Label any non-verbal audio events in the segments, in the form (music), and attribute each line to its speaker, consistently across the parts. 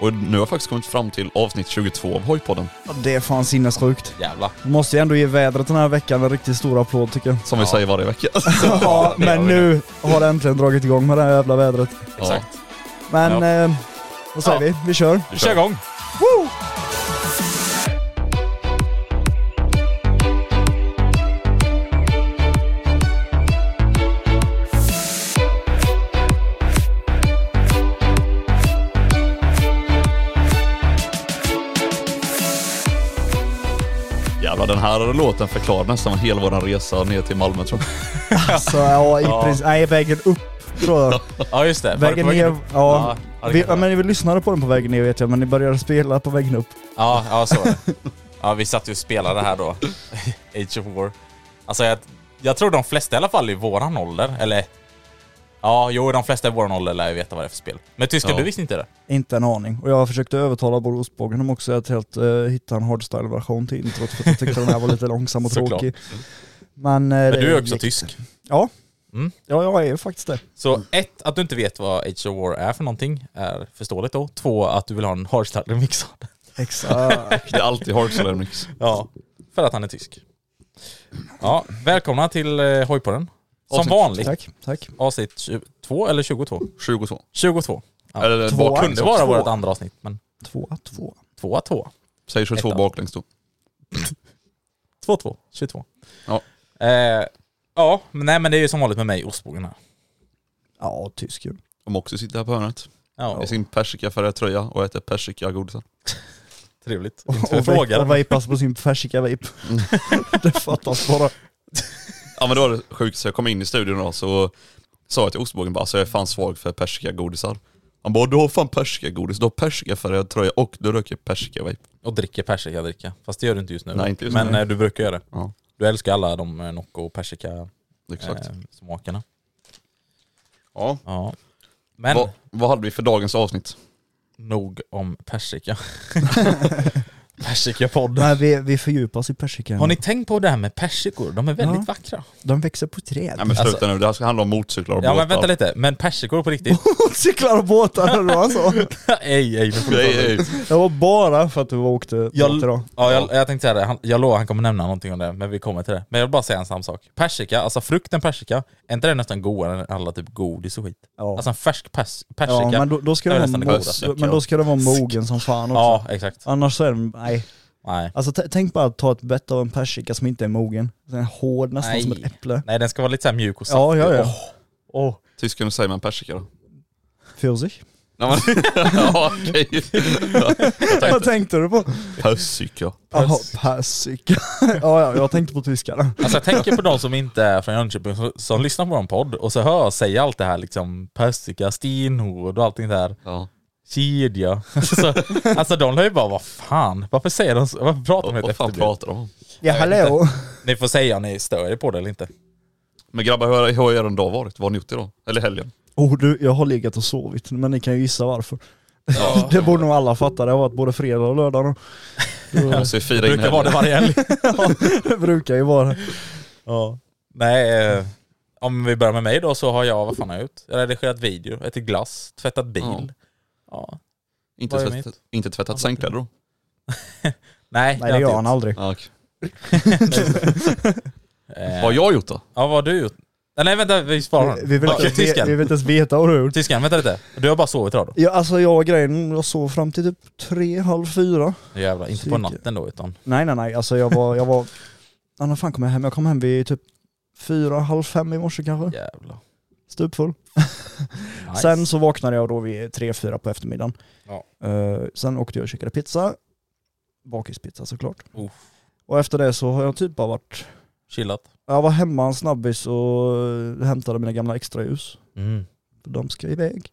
Speaker 1: Och nu har jag faktiskt kommit fram till avsnitt 22 av Hojpodden.
Speaker 2: Ja, Det är fan sinnessjukt.
Speaker 1: Jävlar.
Speaker 2: Måste ju ändå ge vädret den här veckan en riktigt stor applåd tycker jag.
Speaker 1: Som vi säger varje (laughs) vecka.
Speaker 2: Ja, men nu har det äntligen dragit igång med det här jävla vädret.
Speaker 1: Exakt.
Speaker 2: Men, eh, vad säger vi? Vi kör.
Speaker 1: Vi kör igång. Jävlar, den här låten förklarar nästan hela vår resa ner till Malmö tror jag.
Speaker 2: Så ja, i princip, nej vägen upp tror jag.
Speaker 3: Ja just det. Var det
Speaker 2: Vägen
Speaker 3: på
Speaker 2: ner,
Speaker 3: upp?
Speaker 2: ja.
Speaker 3: ja, det
Speaker 2: Vi,
Speaker 3: kanske
Speaker 2: ja,
Speaker 3: var.
Speaker 2: men vi lyssnade på den på vägen ner vet jag, men ni började spela på vägen upp.
Speaker 3: Ja, ja så var det. Ja, vi satt ju och spelade här då. (laughs) Age of War. Alltså jag, jag tror de flesta i alla fall i våran ålder, eller... Ja, jo de flesta i våran ålder lär ju veta vad det är för spel. Men tyska,
Speaker 1: Ja.
Speaker 3: du visste inte det?
Speaker 2: Inte en aning. Och jag försökte övertala både ostbågen och också att helt eh, hitta en hardstyle-version till introt för att jag tyckte den här var lite långsam och
Speaker 3: Såklart.
Speaker 2: tråkig. Men, eh,
Speaker 3: Men
Speaker 2: det
Speaker 3: du är också
Speaker 2: gick-
Speaker 3: tysk.
Speaker 2: Ja.
Speaker 3: Mm.
Speaker 2: Ja, jag är ju faktiskt det.
Speaker 3: Så ett, att du inte vet vad Age of War är för någonting är förståeligt då. Två, att du vill ha en hardstyle-remix av det.
Speaker 2: Exakt.
Speaker 1: Det är alltid Hardstyle Mix.
Speaker 3: Ja, för att han är tysk. Ja, välkomna till eh, Hojpodden. Som
Speaker 1: Avsnitt
Speaker 3: vanligt,
Speaker 2: tack, tack.
Speaker 3: avsnitt 22 eller 22?
Speaker 1: 22.
Speaker 3: 22. Ja.
Speaker 1: Eller
Speaker 2: Tvåa.
Speaker 1: baklänges
Speaker 3: kunde
Speaker 1: också.
Speaker 3: vara vårt andra avsnitt, men
Speaker 2: Tvåa, tvåa.
Speaker 3: 2 2
Speaker 1: Säg 22
Speaker 3: Ettan.
Speaker 1: baklänges då.
Speaker 3: 2 2 22.
Speaker 1: Ja.
Speaker 3: Eh, ja, men nej men det är ju som vanligt med mig, ostbågen här.
Speaker 2: Ja, tysk ju.
Speaker 1: Om också sitter här på hörnet.
Speaker 3: Ja,
Speaker 1: I sin persikafärgade tröja och äter persikagodisar.
Speaker 3: trevligt.
Speaker 2: Och,
Speaker 3: Inte för jag
Speaker 2: och, vape-
Speaker 3: frågar.
Speaker 2: och vejpas på sin färsika
Speaker 3: (laughs)
Speaker 2: vape. Mm. det fattas bara.
Speaker 1: Ja men det var det sjukt, så jag kom in i studion idag så sa jag till ostbågen bara, så jag är fan svag för persikagodisar. Han bara, du har fan persikagodis, du har persikafärgad tröja och du röker persikavape.
Speaker 3: Och dricker persika, dricka. Fast det gör du inte just nu.
Speaker 1: Nej, inte just
Speaker 3: men
Speaker 1: nu.
Speaker 3: eh, du brukar göra det.
Speaker 1: Ja.
Speaker 3: Du älskar alla de eh, Nocco och persika
Speaker 1: Exakt.
Speaker 3: eh, smakerna.
Speaker 1: ja.
Speaker 3: Ja. Men
Speaker 1: Vad, vad hade vi för dagens avsnitt?
Speaker 3: nog om
Speaker 1: (laughs)
Speaker 3: persika. (laughs) Persikapodden.
Speaker 2: Nej, vi, vi fördjupas i persikan.
Speaker 3: Har ni tänkt på det här med persikor? De är väldigt
Speaker 2: Ja.
Speaker 3: vackra.
Speaker 2: De växer på träd.
Speaker 1: Nej men sluta
Speaker 3: Alltså-
Speaker 1: nu, det här ska handla om motorcyklar och
Speaker 3: Ja
Speaker 1: båtar.
Speaker 3: men vänta lite, men persikor
Speaker 1: (laughs)
Speaker 3: på riktigt?
Speaker 2: (laughs)
Speaker 3: (laughs)
Speaker 2: Cyklar och båtar eller vad han sa.
Speaker 3: ej, ej, nu får du
Speaker 1: Nej,
Speaker 3: prata.
Speaker 1: nej.
Speaker 2: Det var bara för att du var åkte båt idag.
Speaker 3: Ja, jag, jag tänkte säga det, han, jag lovar han kommer nämna någonting om det, men vi kommer till det. Men jag vill bara säga en snabb sak. Persika, alltså frukten persika, är inte det nästan godare än alla typ godis och skit?
Speaker 2: Ja.
Speaker 3: Alltså en färsk pers, persika.
Speaker 2: Ja, men då, då ska
Speaker 3: är
Speaker 2: den
Speaker 3: nästan det
Speaker 2: vara
Speaker 3: godaste.
Speaker 2: mo- men då ska den vara mogen som fan också.
Speaker 3: Ja, exakt.
Speaker 2: Annars så är den, nej.
Speaker 3: Nej.
Speaker 2: Alltså t- tänk bara att ta ett bett av en persika som inte är mogen. Den är hård nästan som ett äpple.
Speaker 3: Nej, den ska vara lite så här mjuk och saftig.
Speaker 2: Ja, ja, ja.
Speaker 3: Åh,
Speaker 2: Åh, oh.
Speaker 1: Tysken, hur säger man persika då?
Speaker 2: Pfirsich.
Speaker 1: Nej, men, (laughs) ja okej.
Speaker 2: (laughs)
Speaker 3: (laughs)
Speaker 2: Vad tänkte du på?
Speaker 1: Persika.
Speaker 2: Jaha, persika. (laughs) ja, ja, jag tänkte på tyskarna.
Speaker 3: Alltså jag tänker på de som inte är från Jönköping, som, som lyssnar på vår podd och så hör jag säga allt det här liksom persika, stenhård och allting där.
Speaker 1: Ja.
Speaker 3: Kedja. (laughs) Alltså, alltså de lär ju bara, vad fan, varför säger de så? Varför pratar de
Speaker 1: Vad
Speaker 3: helt typ?
Speaker 1: vad fan
Speaker 3: efterblivet?
Speaker 1: pratar de om?
Speaker 2: Ja,
Speaker 3: Jag vet
Speaker 2: hallå.
Speaker 3: Ni får säga om ni stör er på det eller inte.
Speaker 1: Men grabbar, hur har- hur har er en dag varit? Vad har ni gjort idag? Eller helgen?
Speaker 2: Oh, du, jag har legat och sovit, men ni kan ju gissa varför. (laughs) det borde nog alla fatta, det har varit både fredag och lördag. Då. Då,
Speaker 1: Måste vi fira in
Speaker 3: brukar vara det
Speaker 1: helgen.
Speaker 3: varje helg.
Speaker 2: ja, (laughs) det brukar ju vara
Speaker 3: (laughs) ja. Nej, eh, om vi börjar med mig då så har jag, vad fan har jag gjort? Jag har redigerat video, ätit glass, tvättat bil. Ja.
Speaker 1: Inte
Speaker 3: Vad är
Speaker 1: tvättat,
Speaker 3: mitt?
Speaker 1: inte tvättat sängkläder då?
Speaker 3: Nej,
Speaker 2: Nej det gör han
Speaker 3: har
Speaker 2: aldrig.
Speaker 1: Ja, okej. (laughs)
Speaker 3: jag
Speaker 1: Vad har
Speaker 3: inte gjort. Eh,
Speaker 1: jag gjort då?
Speaker 3: Ja, vad har du gjort? Nej, nej vänta, vi sparar
Speaker 2: Vi,
Speaker 3: den.
Speaker 2: vi, vill
Speaker 3: Okej,
Speaker 2: inte, ens ve-
Speaker 3: Tyskan.
Speaker 2: vi vill inte ens veta vad du har gjort.
Speaker 3: Tyskan, vänta lite. Du har bara sovit idag då?
Speaker 2: Ja, alltså jag och grejen, jag sov fram till typ tre, halv fyra.
Speaker 3: Jävlar, inte på
Speaker 2: Psyke.
Speaker 3: natten då utan...
Speaker 2: Nej nej nej, alltså jag var, jag var, ja, när fan kom jag hem? Jag kom hem vid typ fyra, halv fem i morse kanske.
Speaker 3: Jävlar.
Speaker 2: Stupfull.
Speaker 3: Nice.
Speaker 2: Sen så vaknade jag då vid tre, fyra på eftermiddagen.
Speaker 3: Ja.
Speaker 2: Eh, sen åkte jag och käkade pizza. Bakispizza såklart.
Speaker 3: Oh.
Speaker 2: Och efter det så har jag typ bara varit,
Speaker 3: Chillat.
Speaker 2: jag var hemma en snabbis och eh, hämtade mina gamla extraljus.
Speaker 3: Mm,
Speaker 2: För De ska iväg.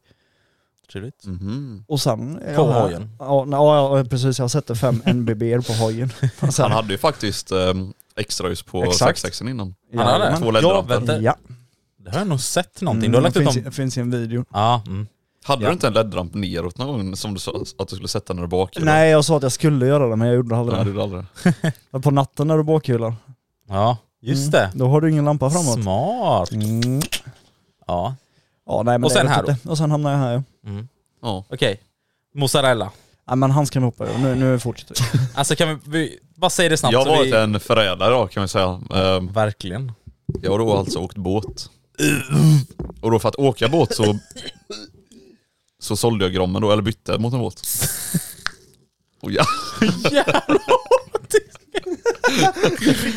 Speaker 3: Trevligt.
Speaker 1: Mhm.
Speaker 2: Och sen... är
Speaker 3: På
Speaker 2: jag här.
Speaker 3: hojen.
Speaker 2: Ja, nej, ja, ja, precis. Jag sätter
Speaker 3: (laughs)
Speaker 2: fem NBB'er på hojen. Alltså,
Speaker 1: Han hade ju faktiskt um, extrahus på
Speaker 2: Exakt.
Speaker 1: 66 innan.
Speaker 3: Han hade
Speaker 2: Jajamän.
Speaker 1: Två
Speaker 3: Ja,
Speaker 1: lädervantar.
Speaker 3: vänta.
Speaker 2: Ja. Mm,
Speaker 3: Det har jag nog sett någonting. Du har lagt ut
Speaker 2: finns,
Speaker 3: dem...
Speaker 2: i- finns i en video.
Speaker 3: Ja. Mm.
Speaker 1: Hade
Speaker 3: Ja.
Speaker 1: du inte en LED-ramp neråt någon gång som du sa att du skulle sätta när du bakade?
Speaker 2: Nej jag sa att jag skulle göra det men jag gjorde aldrig
Speaker 1: Nej,
Speaker 2: det.
Speaker 1: det gjorde du aldrig.
Speaker 2: Men På natten när du bakhjular,
Speaker 3: Ja, just
Speaker 2: mm,
Speaker 3: det.
Speaker 2: då har du ingen lampa framåt.
Speaker 3: Smart.
Speaker 2: Mm.
Speaker 3: Ja.
Speaker 2: Ja, nej, men
Speaker 3: Och
Speaker 2: det
Speaker 3: sen
Speaker 2: vet
Speaker 3: här
Speaker 2: inte. Och sen hamnar jag här ja.
Speaker 3: Mm.
Speaker 1: Ja.
Speaker 3: Okej. Mozzarella.
Speaker 2: Nej men handsken hoppar över, nu, nu fortsätter vi.
Speaker 3: Alltså kan vi... vi bara säg det snabbt
Speaker 1: Jag har
Speaker 3: så
Speaker 1: varit
Speaker 3: vi...
Speaker 1: en förrädare idag kan man säga. Ehm,
Speaker 2: (laughs)
Speaker 3: Verkligen.
Speaker 1: Jag har då alltså åkt båt. Och då för att åka båt så så sålde jag grommen då, eller bytte mot en båt. Och ja,
Speaker 2: (laughs)
Speaker 1: (laughs)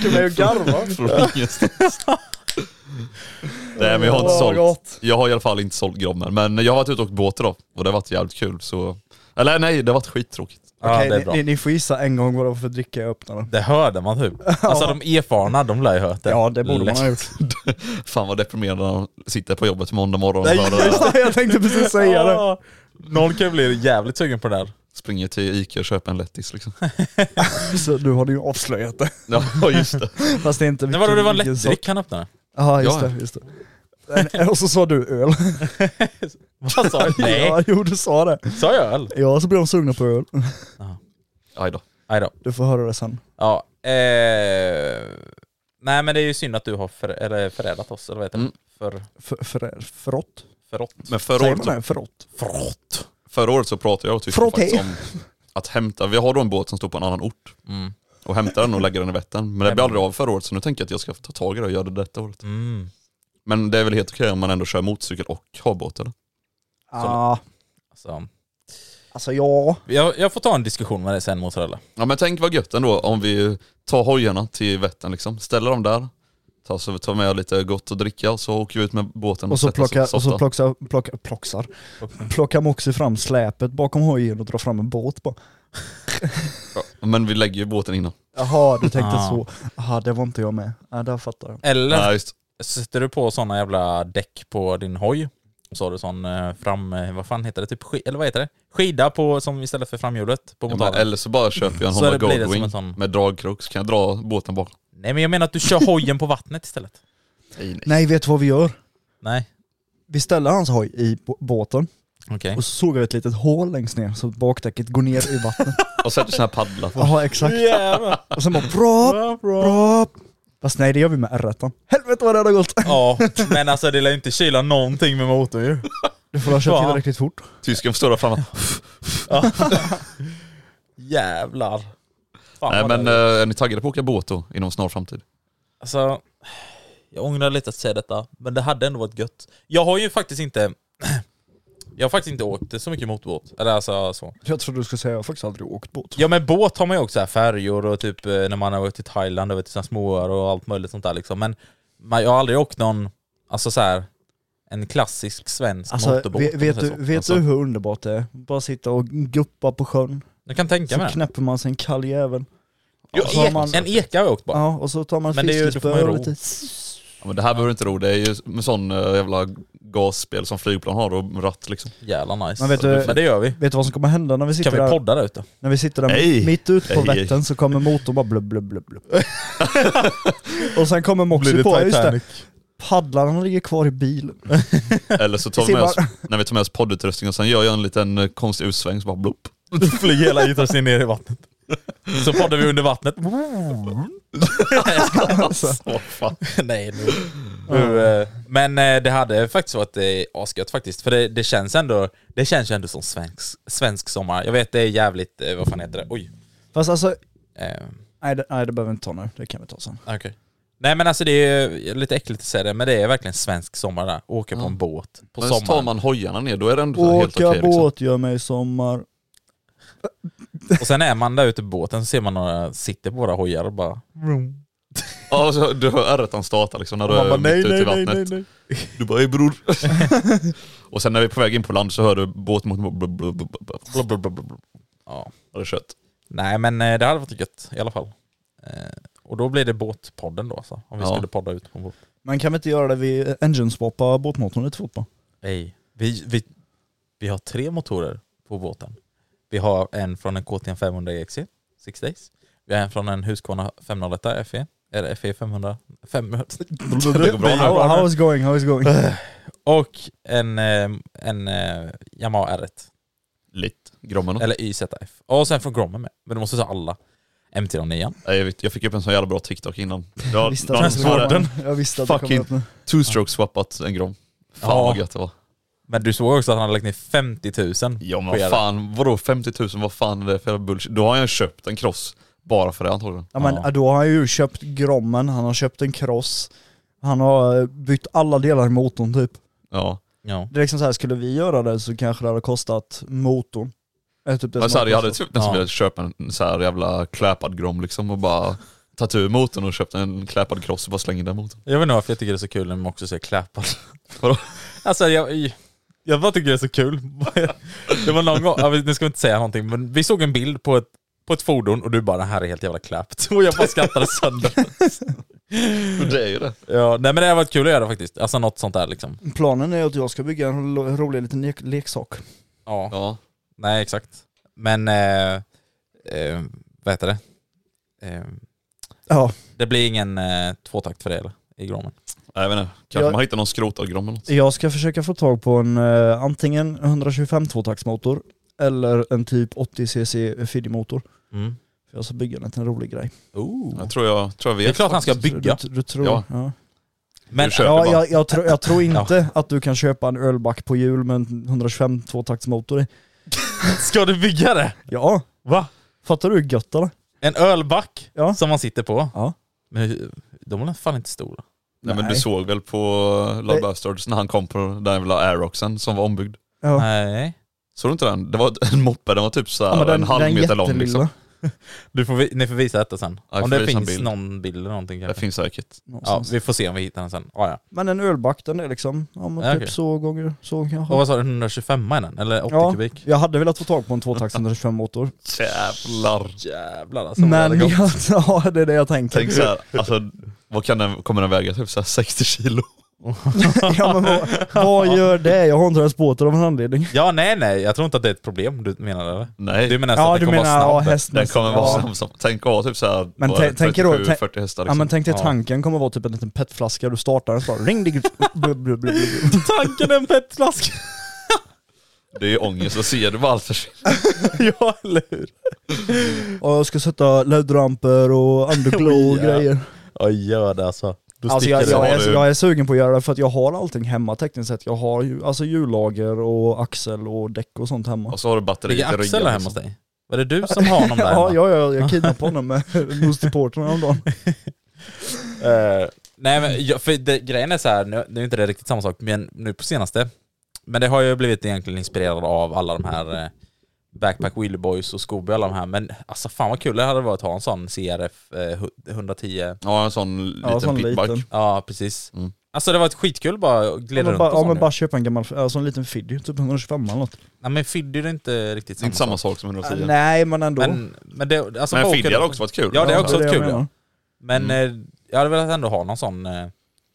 Speaker 2: Du mig att
Speaker 3: (laughs)
Speaker 2: garva.
Speaker 1: från ingenstans. Nej men jag har inte
Speaker 2: Åh, vad
Speaker 1: sålt.
Speaker 2: gott.
Speaker 1: Jag har i alla fall inte sålt grommen. Men jag har varit ute och åkt båt idag och det har varit jävligt kul så... Eller nej, det har varit skittråkigt.
Speaker 3: ja, det är bra.
Speaker 2: ni, ni får gissa en gång vad det var för dricka jag öppnade.
Speaker 3: Det hörde man typ. Alltså de erfarna, de lär ju hört det.
Speaker 2: Ja det borde man ha gjort. (laughs)
Speaker 1: Fan vad deprimerande när man sitter på jobbet måndag morgon och
Speaker 2: Nej
Speaker 1: bara
Speaker 2: just det, jag tänkte
Speaker 3: (laughs)
Speaker 2: precis säga det.
Speaker 3: Ja. Någon kan bli jävligt sugen på det där.
Speaker 1: springer till Ica och köper en lättis liksom.
Speaker 2: (laughs) Så nu har du ju avslöjat det.
Speaker 1: Ja (laughs) just det.
Speaker 2: (laughs) Fast det är inte
Speaker 3: Men vadå, det var
Speaker 2: vilken sort.
Speaker 3: lättdryck han öppnade?
Speaker 2: Ja just
Speaker 1: Ja.
Speaker 2: det, just det. Men- eh, Och så sa du öl.
Speaker 3: Vad sa jag? (laughs) Nej,
Speaker 2: (laughs) Ja, jo du sa det.
Speaker 3: sa jag öl?
Speaker 2: Ja så blir de sugna på öl.
Speaker 1: Aj då.
Speaker 3: Nej då.
Speaker 2: Du får höra det sen.
Speaker 3: Ja, eh, nej men det är ju synd att du har för, eller förädlat oss, eller vad heter det?
Speaker 1: Mm.
Speaker 3: För,
Speaker 2: För- för- Förrått?
Speaker 3: förrått.
Speaker 1: Men förra
Speaker 2: Säger
Speaker 1: året
Speaker 2: man
Speaker 1: så
Speaker 2: det? Förrått?
Speaker 3: Förrått?
Speaker 1: Förra året så pratade jag och Tyskland
Speaker 2: Frotté.
Speaker 1: faktiskt om att hämta, vi har då en båt som står på en annan ort
Speaker 3: Mm.
Speaker 1: och hämtar den och lägger den i Vättern. Men det blev aldrig av förra året så nu tänker jag att jag ska ta tag i det och göra det detta året.
Speaker 3: Mm.
Speaker 1: Men det är väl helt okej om man ändå kör motorcykel och har båt eller?
Speaker 2: Ja,
Speaker 3: Alltså,
Speaker 2: alltså ja.
Speaker 3: jag, jag får ta en diskussion med dig sen mozzarella.
Speaker 1: Ja men tänk vad gött ändå om vi tar hojarna till Vättern liksom, ställer dem där, tar, så tar med lite gott att dricka och så åker vi ut med båten
Speaker 2: Och så,
Speaker 1: sätter oss
Speaker 2: plocka, och
Speaker 1: softa.
Speaker 2: så plocksa, plocka, plocksar. plockar Moxie fram släpet bakom hojen och drar fram en båt bara.
Speaker 1: Ja, Men vi lägger ju båten innan.
Speaker 2: Jaha, du tänkte
Speaker 3: Ah.
Speaker 2: så. Jaha, det var inte jag med. Ja, där fattar jag.
Speaker 3: Eller
Speaker 1: Nej just
Speaker 3: sätter du på sådana jävla däck på din hoj, så har du sån eh, fram, eh, vad fan heter det, typ sk- eller vad heter det? Skida på, som istället för framhjulet på
Speaker 1: ja,
Speaker 3: motorn.
Speaker 1: men, eller så bara köper jag en
Speaker 3: Så
Speaker 1: Honda
Speaker 3: det blir det som
Speaker 1: Goldwing
Speaker 3: en sån-
Speaker 1: med dragkrok så kan jag dra båten bak.
Speaker 3: nej men jag menar att du kör hojen på vattnet istället.
Speaker 2: Nej, vet du vad vi gör?
Speaker 3: Nej,
Speaker 2: Vi ställer hans hoj i bå- båten
Speaker 3: okej.
Speaker 2: och så sågar vi ett litet hål längst ner så att bakdäcket går ner i vattnet.
Speaker 1: Och sätter sån här paddla på.
Speaker 2: Jaha, exakt.
Speaker 3: Jävlar.
Speaker 2: Och sen bara bra, bra. Fast nej, det gör vi med R1. Helvete vad det hade gått.
Speaker 3: Ja, men alltså det lär ju inte kyla någonting med motorn ju.
Speaker 2: Du får ha kört
Speaker 3: Fan.
Speaker 2: tillräckligt fort.
Speaker 1: Tysken står där framme.
Speaker 3: (laughs) Jävlar. Fan,
Speaker 1: Nej
Speaker 3: vad
Speaker 1: men
Speaker 3: det-
Speaker 1: eh, är ni taggade på att åka båt då inom snar framtid?
Speaker 3: Alltså, jag ångrar lite att säga detta, men det hade ändå varit gött. Jag har ju faktiskt inte... (clears throat) Jag har faktiskt inte åkt så mycket motorbåt. Eller alltså så.
Speaker 2: Jag trodde du skulle säga jag har faktiskt aldrig åkt båt.
Speaker 3: Ja men båt har man ju också här, färjor och typ eh, när man har varit i Thailand över till sina småöar och allt möjligt sånt där liksom. Men man, jag har aldrig åkt någon, alltså så här en klassisk svensk
Speaker 2: Alltså,
Speaker 3: motorbåt.
Speaker 2: vet,
Speaker 3: om man
Speaker 2: vet,
Speaker 3: säger
Speaker 2: du,
Speaker 3: så.
Speaker 2: vet
Speaker 3: alltså,
Speaker 2: du hur underbart det är? Bara sitta och guppa på sjön,
Speaker 3: Jag kan tänka
Speaker 2: så
Speaker 3: mig det.
Speaker 2: knäpper man sig en kall jävel.
Speaker 3: Jo,
Speaker 2: så har
Speaker 3: ek,
Speaker 2: man-
Speaker 3: En eka har jag åkt bara.
Speaker 2: Ja, och så tar man
Speaker 3: Men det är ju-
Speaker 2: ett
Speaker 3: då får man ju
Speaker 2: fiskespö och
Speaker 3: ro.
Speaker 2: lite...
Speaker 1: Ja, men det här behöver du inte ro, det är ju med sån eh, jävla gasspel som flygplan har och ratt liksom.
Speaker 3: Jävla nice.
Speaker 2: Men vet du-
Speaker 3: men det gör vi.
Speaker 2: Vet du vad som kommer hända när vi sitter
Speaker 3: Kan vi
Speaker 2: där,
Speaker 3: podda
Speaker 2: (laughs)
Speaker 3: där ute?
Speaker 2: när vi sitter där
Speaker 1: Nej.
Speaker 2: mitt ute på
Speaker 1: Nej.
Speaker 2: Vättern så kommer motorn bara blubb, blubb, blubb, blubb. (laughs) och sen kommer
Speaker 3: Blir
Speaker 2: Moxie
Speaker 3: det
Speaker 2: på, "Ja, just det,
Speaker 3: Titanic?
Speaker 2: Paddlarna ligger kvar i bilen.
Speaker 1: Eller så tar vi med oss, när vi tar med oss poddutrustning och sen gör jag en liten eh, konstig utsväng så bara
Speaker 3: (laughs)
Speaker 1: blopp.
Speaker 3: Flyger hela gitarren ner i vattnet. Så poddar vi
Speaker 2: (laughs)
Speaker 3: under vattnet.
Speaker 2: Alltså.
Speaker 1: Åh, fan.
Speaker 3: (laughs) Nej nu. nu eh, men eh, det hade faktiskt varit eh, asgött faktiskt. För det, det känns ändå Det känns ju ändå som svensk, svensk sommar. Jag vet det är jävligt, eh, vad fan heter det? Oj.
Speaker 2: Fast alltså,
Speaker 3: Eh,
Speaker 2: nej det, nej det behöver vi inte ta nu. Det kan vi ta sen.
Speaker 3: Okej. Nej men alltså det är ju lite äckligt att säga det, men det är verkligen svensk sommar där. Åka på
Speaker 1: Ja.
Speaker 3: en båt på
Speaker 1: Men så tar
Speaker 3: sommaren.
Speaker 1: man hojarna ner, då är det ändå så här helt
Speaker 2: Åka
Speaker 1: okej liksom.
Speaker 2: båt gör mig sommar.
Speaker 3: Och sen är man där ute på båten så ser man några sitter på våra hojar och bara...
Speaker 1: Ja, så du hör ärret han startar liksom när du
Speaker 2: Och
Speaker 1: är
Speaker 2: man bara, nej,
Speaker 1: mitt ute i
Speaker 2: nej, nej,
Speaker 1: vattnet.
Speaker 2: nej, nej.
Speaker 1: Du bara hej
Speaker 2: (laughs)
Speaker 1: bror. och sen när vi är på väg in på land så hör du båten mot... blub, blub, blub, blub.
Speaker 3: Ja.
Speaker 1: Ja, det är kött.
Speaker 3: Nej men eh, det hade varit gött i alla fall. Eh, Och då blir det båtpodden då så, om vi
Speaker 1: Ja.
Speaker 3: skulle podda ut på en båt.
Speaker 2: Man kan vi inte göra det vid engine-swappa båtmotorn lite fort bara?
Speaker 3: Nej. Vi, vi, vi har tre motorer på båten. Vi har en från en KTM 500 EXE, 6 E, days. Vi har en från en Husqvarna 501 FE, E, eller FE 500, 500
Speaker 1: Det går bra nu.
Speaker 2: How, how is going, how is going?
Speaker 3: och en, eh, en eh, Yamaha R1,
Speaker 1: Litt. Grommen.
Speaker 3: eller YZF. Och sen från Grommen med, men du måste ta alla. MT-09.
Speaker 1: Nej, jag, vet, jag fick upp en sån jävla bra TikTok innan. Det
Speaker 2: Jag
Speaker 1: var
Speaker 2: visste
Speaker 1: någon
Speaker 2: att det
Speaker 1: som
Speaker 2: skulle
Speaker 1: hade
Speaker 2: komma. Jag visste att det kom
Speaker 1: Fucking-
Speaker 2: upp nu.
Speaker 1: two-stroke swappat en Grom. Fan
Speaker 3: Ja.
Speaker 1: vad gött det var.
Speaker 3: Men du såg också att han hade lagt ner 50 000
Speaker 1: Ja men
Speaker 3: på
Speaker 1: vad
Speaker 3: er.
Speaker 1: fan, vadå 50 000, vad fan är det för jävla bullshit? Då har jag köpt en cross bara för det antagligen.
Speaker 2: Ja men
Speaker 3: Ja.
Speaker 2: då har han ju köpt grommen, han har köpt en cross, han har eh, bytt alla delar i motorn typ.
Speaker 1: Ja.
Speaker 3: Ja.
Speaker 2: Det är liksom så här, skulle vi göra det så kanske det hade kostat motorn. Eh, Typ det
Speaker 1: Men
Speaker 2: som
Speaker 1: så här,
Speaker 2: har
Speaker 1: jag hade
Speaker 2: kostat.
Speaker 1: typ nästan
Speaker 3: Ja.
Speaker 1: velat köpa en så här jävla kläpad Grom liksom och bara tagit ur motorn och köpt en kläpad cross och bara slängt in den motorn.
Speaker 3: Jag vet inte varför jag tycker det är så kul när man också ser klappar.
Speaker 1: Vadå?
Speaker 3: (laughs) Alltså jag, jag bara tycker det är så kul. (laughs) Det var någon gång, ja, vi- nu ska vi inte säga någonting, men vi såg en bild på ett, på ett fordon och du bara den här är helt jävla klappt. (laughs) Och jag bara skrattade sönder.
Speaker 1: Och det är ju det.
Speaker 3: Ja, nej men det har varit kul att göra faktiskt. Alltså något sånt där liksom.
Speaker 2: Planen är att jag ska bygga en lo- rolig liten le- leksak.
Speaker 3: Ja,
Speaker 1: Ja.
Speaker 3: nej exakt. Men, eh, eh, vad heter det? Eh,
Speaker 2: Ja,
Speaker 3: det blir ingen eh, tvåtakt för det eller? I Gromen.
Speaker 1: Nej, Jag vet inte, kanske
Speaker 2: Jag-
Speaker 1: man hittar någon skrotad Grom eller något.
Speaker 2: jag ska försöka få tag på en eh, antingen 125 tvåtaktsmotor eller en typ 80cc Fiddy-motor.
Speaker 3: Mm.
Speaker 2: För jag ska bygga en liten rolig grej.
Speaker 1: Jag tror jag, tror jag vet.
Speaker 3: Det är klart han ska bygga.
Speaker 2: Du, du tror?
Speaker 1: Ja.
Speaker 2: ja.
Speaker 3: Men
Speaker 1: Du kör.
Speaker 2: Ja,
Speaker 1: bara.
Speaker 2: jag, jag, tror- jag tror inte att du kan köpa en ölback på hjul med en 125 tvåtaktsmotor i.
Speaker 3: (laughs) ska du bygga det?
Speaker 2: Ja,
Speaker 3: Va?
Speaker 2: fattar du hur gött eller?
Speaker 3: En ölback
Speaker 2: Ja.
Speaker 3: som man sitter på.
Speaker 2: Ja.
Speaker 3: Men hur- de var fan inte stora.
Speaker 1: Nej, men du
Speaker 2: Nej.
Speaker 1: såg väl på Love Bastards när han kom på den jävla Aeroxen som var ombyggd?
Speaker 2: Ja.
Speaker 3: Nej.
Speaker 1: Såg du inte den? Det var en moppe, den var typ så här en halv meter lång
Speaker 2: jättelilla.
Speaker 1: liksom.
Speaker 3: Du får, vi- ni får visa detta sen.
Speaker 1: Ja, vi
Speaker 3: om
Speaker 1: får
Speaker 3: det
Speaker 1: visa en
Speaker 3: finns
Speaker 1: bild.
Speaker 3: någon bild eller någonting
Speaker 1: Det
Speaker 3: kanske.
Speaker 1: finns säkert.
Speaker 3: Ja,
Speaker 2: någonstans.
Speaker 3: vi får se om vi hittar den sen. Ah, ja.
Speaker 2: Men en ölback den är liksom, ja men
Speaker 3: Ja,
Speaker 2: typ
Speaker 3: okej.
Speaker 2: så gånger så kanske.
Speaker 3: Och vad sa du, 125 är den? Eller 80
Speaker 2: Ja.
Speaker 3: kubik?
Speaker 2: Jag hade velat få tag på en tvåtakts
Speaker 1: (laughs)
Speaker 2: 125 motor.
Speaker 1: Jävlar.
Speaker 3: Jävlar alltså. vad det
Speaker 2: men
Speaker 3: hade gått.
Speaker 2: jag, (laughs) ja, det är det jag tänker.
Speaker 1: Tänk såhär, alltså vad kan den, kommer den väga? Typ såhär 60 kilo?
Speaker 2: (laughs) ja, men
Speaker 1: (laughs)
Speaker 2: vad, vad gör det? Jag har inte ens båten av en anledning.
Speaker 3: Ja nej nej, jag tror inte att det är ett problem du menar eller?
Speaker 1: Nej.
Speaker 3: Du menar nästan
Speaker 2: Ja
Speaker 3: att
Speaker 2: du
Speaker 3: den kommer
Speaker 2: menar ja,
Speaker 3: vara snabb?
Speaker 1: den
Speaker 2: hästmässigt.
Speaker 1: kommer vara
Speaker 2: ja.
Speaker 1: snabb som, tänk att vara typ såhär
Speaker 2: Men
Speaker 1: bara
Speaker 2: tän- tänker då- tänk-
Speaker 1: 40 hästar
Speaker 2: Ja
Speaker 1: liksom.
Speaker 2: men tänk dig
Speaker 3: Ja.
Speaker 2: tanken kommer vara typ en liten petflaska, du startar den så bara ring dig.
Speaker 1: (laughs)
Speaker 3: Tanken är en petflaska!
Speaker 1: Det är ju ångest, och ser du bara allt försvinna.
Speaker 3: ja eller hur?
Speaker 2: Och jag ska sätta LED-ramper och (laughs) underglow och
Speaker 3: Ja.
Speaker 2: grejer.
Speaker 3: Ja gör det alltså. Då
Speaker 2: Alltså
Speaker 3: sticker
Speaker 2: jag,
Speaker 3: det.
Speaker 2: jag,
Speaker 1: Har
Speaker 2: är,
Speaker 1: du-
Speaker 2: jag är sugen på att göra det för att jag har allting hemma tekniskt sett. Jag har ju alltså hjullager och axel och däck och sånt hemma.
Speaker 1: Och så har du batteriet i
Speaker 3: Ligger
Speaker 1: ryggen. liksom.
Speaker 3: Axel hemma hos dig? Var det du som har honom
Speaker 2: (laughs)
Speaker 3: där
Speaker 2: Ja,
Speaker 3: hemma?
Speaker 2: ja, ja, jag kidnappade honom
Speaker 3: (laughs)
Speaker 2: med Most Important häromdagen.
Speaker 3: Eh, nej men jag, för det, grejen är så här, nu, nu är inte det riktigt samma sak, men nu på senaste. Men det har ju blivit egentligen inspirerad av alla de här eh, Backpack Willy Boys och Scooby och alla de här. Men alltså fan vad kul det hade varit att ha en sån CRF eh, hu- 110.
Speaker 1: Ja en sån liten
Speaker 2: Ja, sån
Speaker 1: pitback.
Speaker 2: liten.
Speaker 3: Ja precis.
Speaker 1: Mm.
Speaker 3: Alltså det var ett skitkul bara att
Speaker 2: Ja,
Speaker 3: glida
Speaker 2: men
Speaker 3: runt
Speaker 2: bara,
Speaker 3: på
Speaker 2: ja,
Speaker 3: sån
Speaker 2: men
Speaker 3: ju.
Speaker 2: bara köpa en gammal, alltså en liten Fiddy, typ 125 eller något.
Speaker 3: Nej men Fiddy är det inte
Speaker 1: Det är
Speaker 3: riktigt samma,
Speaker 1: Inte samma sak som 110.
Speaker 2: Äh, nej, men ändå.
Speaker 3: Alltså, Men, men det, alltså bara
Speaker 1: men
Speaker 3: åka
Speaker 1: Fiddy hade
Speaker 3: runt.
Speaker 1: också varit Mm. kul.
Speaker 3: Ja det är
Speaker 2: Ja,
Speaker 3: också
Speaker 2: det är
Speaker 3: varit
Speaker 2: det jag
Speaker 3: kul ja.
Speaker 2: menar.
Speaker 3: Men eh, jag hade velat ändå ha någon sån eh,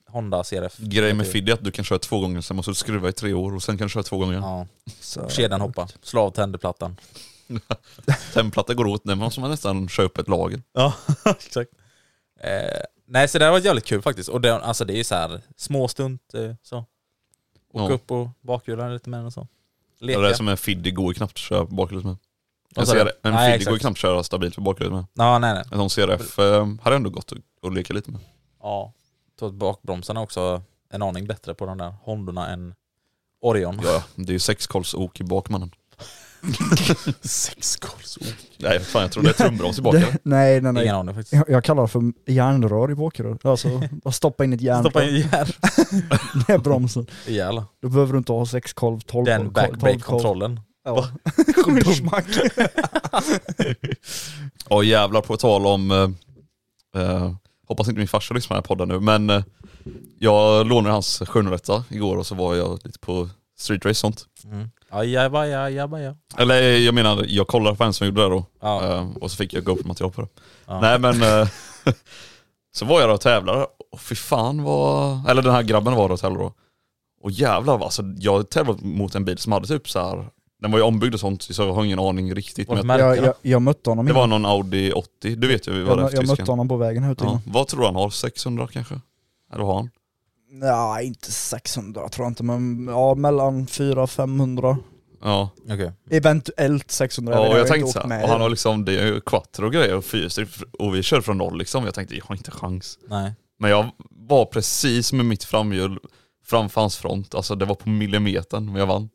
Speaker 3: Honda CRF.
Speaker 1: Grejen med Fiddy är att du kan köra två gånger, sen måste du skruva i tre år och sen kan du köra två gånger igen.
Speaker 3: Ja,
Speaker 2: Så-
Speaker 3: kedjan hoppa. Slå av tänderplattan.
Speaker 1: Tändplatta går åt, nej, men måste man nästan köpa ett lager.
Speaker 3: Ja, exakt. Eh, Nej, så det var jävligt kul faktiskt. Och det, alltså det är ju så här små stunt eh, så. Åka
Speaker 1: Ja.
Speaker 3: upp och bakhjula lite med den och så.
Speaker 1: Det
Speaker 3: Leka.
Speaker 1: är som en fiddy går knappt att köra bakhjulet med. En,
Speaker 3: Vad sa du?
Speaker 1: CR, en
Speaker 3: Nej,
Speaker 1: fiddy
Speaker 3: exakt.
Speaker 1: går knappt att köra stabilt med bakhjulet med.
Speaker 3: Ja, nej, nej.
Speaker 1: En sån CRF eh, hade ändå gått att- att leka lite med.
Speaker 3: Ja. Så att bakbromsarna är också en aning bättre på de där Hondorna än Orion.
Speaker 1: Ja, ja. det är ju sexkolvsok i
Speaker 3: (laughs)
Speaker 1: bakmannen. (laughs)
Speaker 3: Sexkolsok.
Speaker 1: Nej fan jag tror det är trumbroms i baken.
Speaker 2: Det- nej, nej, nej.
Speaker 3: Ingen aning faktiskt.
Speaker 2: Jag, jag kallar det för järnrör i bakhjulet. Alltså,
Speaker 3: (laughs)
Speaker 2: bara stoppa in ett järn
Speaker 3: Stoppa in järn.
Speaker 2: i bromsen.
Speaker 3: (laughs) Ihjäl.
Speaker 2: Då behöver du inte ha sex kolv, tolv
Speaker 3: Den
Speaker 2: kolv, tolv kolv. (laughs)
Speaker 3: backbrake-kontrollen.
Speaker 2: Ja. Kommer smack.
Speaker 1: Ja jävlar på tal om, eh, eh, hoppas inte min farsa lyssnar på den här podden nu men eh, jag lånade hans 700 igår och så var jag lite på street race och sånt.
Speaker 3: Mm. Ajabba, ajabba, ja.
Speaker 1: Eller eh, jag menar jag kollade på en som gjorde det då
Speaker 3: Ja.
Speaker 1: eh, och så fick jag GoPro-material på det.
Speaker 3: Ja.
Speaker 1: Nej men eh, (laughs) så var jag där och tävlade och fy fan vad, eller den här grabben var där och tävlade då. Och jävlar vad, alltså jag tävlade mot en bil som hade typ så här. den var ju ombyggd och sånt så jag har ingen aning riktigt.
Speaker 3: Vart
Speaker 1: Men jag,
Speaker 2: (laughs)
Speaker 3: märker
Speaker 2: Jag,
Speaker 3: jag,
Speaker 2: jag, jag mötte honom
Speaker 1: det
Speaker 2: innan.
Speaker 1: var någon Audi 80, du vet ju vad det är
Speaker 2: Jag,
Speaker 1: för
Speaker 2: jag
Speaker 1: tysken.
Speaker 2: mötte honom på vägen här ute
Speaker 1: Ja.
Speaker 2: innan.
Speaker 1: Vad tror du han har? 600 kanske? Eller har han?
Speaker 2: Nej, inte 600 tror jag inte, men ja, mellan 400-500.
Speaker 1: Ja,
Speaker 3: Okej.
Speaker 2: Eventuellt 600.
Speaker 1: ja
Speaker 2: vet
Speaker 1: och jag
Speaker 2: inte,
Speaker 1: tänkte
Speaker 2: åkt
Speaker 1: såhär,
Speaker 2: med.
Speaker 1: och han har liksom, det är ju quattro och grejer och fyrhjulsdrift och vi kör från noll liksom. Jag tänkte, jag har inte en chans.
Speaker 3: Nej.
Speaker 1: Men jag var precis med mitt framhjul framför hans front, alltså det var på millimetern men jag vann.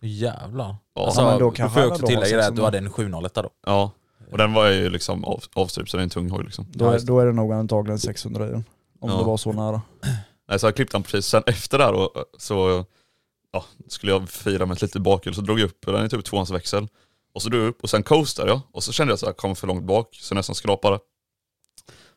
Speaker 3: Jävlar.
Speaker 1: Ja.
Speaker 3: Alltså,
Speaker 2: Ja, men då
Speaker 3: då,
Speaker 2: kanske
Speaker 3: får
Speaker 2: han
Speaker 3: jag
Speaker 2: ändå
Speaker 3: också
Speaker 2: har
Speaker 3: tillägga det att
Speaker 2: sexhundra.
Speaker 3: du hade en 701 då.
Speaker 1: Ja, och den var ju liksom av, avstup så det är en tung hoj liksom.
Speaker 2: då, är, då är det nog antagligen 600 i den. Om
Speaker 1: Ja.
Speaker 2: det var så nära.
Speaker 1: Nej, så jag klippte han precis, sen efter där och, så ja, skulle jag fira med ett litet bakhjul så drog jag upp, den är typ tvåans växel. Och så drog jag upp och sen coastade jag och så kände jag att jag kom för långt bak så jag nästan skrapade.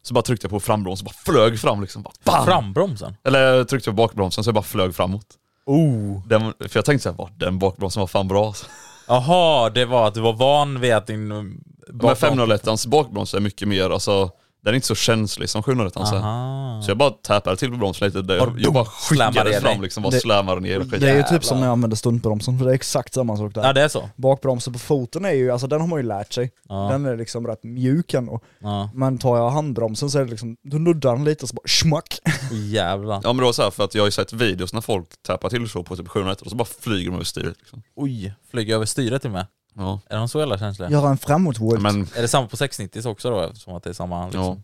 Speaker 1: Så bara tryckte jag på frambroms och bara flög fram liksom. Bara, bam!
Speaker 3: Frambromsen.
Speaker 1: Eller tryckte jag på bakbromsen så jag bara flög framåt.
Speaker 3: Oh.
Speaker 1: Den, för jag tänkte såhär, den bakbromsen var fan bra. alltså.
Speaker 3: Jaha, det var att du var van vid att din... um,
Speaker 1: Men
Speaker 3: bakbrom-
Speaker 1: 501ans bakbroms är mycket mer, alltså den är inte så känslig som 701ans är.
Speaker 3: Aha.
Speaker 1: Så jag bara täpade till på bromsen lite, där jag, jag bara
Speaker 3: slammade
Speaker 1: skickade
Speaker 3: ner
Speaker 1: fram
Speaker 3: dig.
Speaker 1: liksom, bara
Speaker 2: Det-
Speaker 1: slammade ner och skit.
Speaker 2: Det är ju typ som när jag använder stuntbromsen, för det är exakt samma sak där.
Speaker 3: Ja det är så?
Speaker 2: Bakbromsen på foten är ju, alltså den har man ju lärt sig.
Speaker 3: Ja.
Speaker 2: Den är liksom rätt mjuk ändå.
Speaker 3: Ja.
Speaker 2: Men tar jag handbromsen så är det liksom, då nuddar den lite och så bara schmack.
Speaker 3: Jävlar.
Speaker 1: Ja men det var så här för att jag har ju sett videos när folk tappar till så på typ 700 och så bara flyger de över styret liksom.
Speaker 3: Oj. Flyger över styret till och med.
Speaker 1: Ja.
Speaker 3: Är de så jävla känsliga?
Speaker 2: Göra en framåtvolt.
Speaker 1: Men
Speaker 3: Är det samma på 690 också då eftersom att det är samma liksom?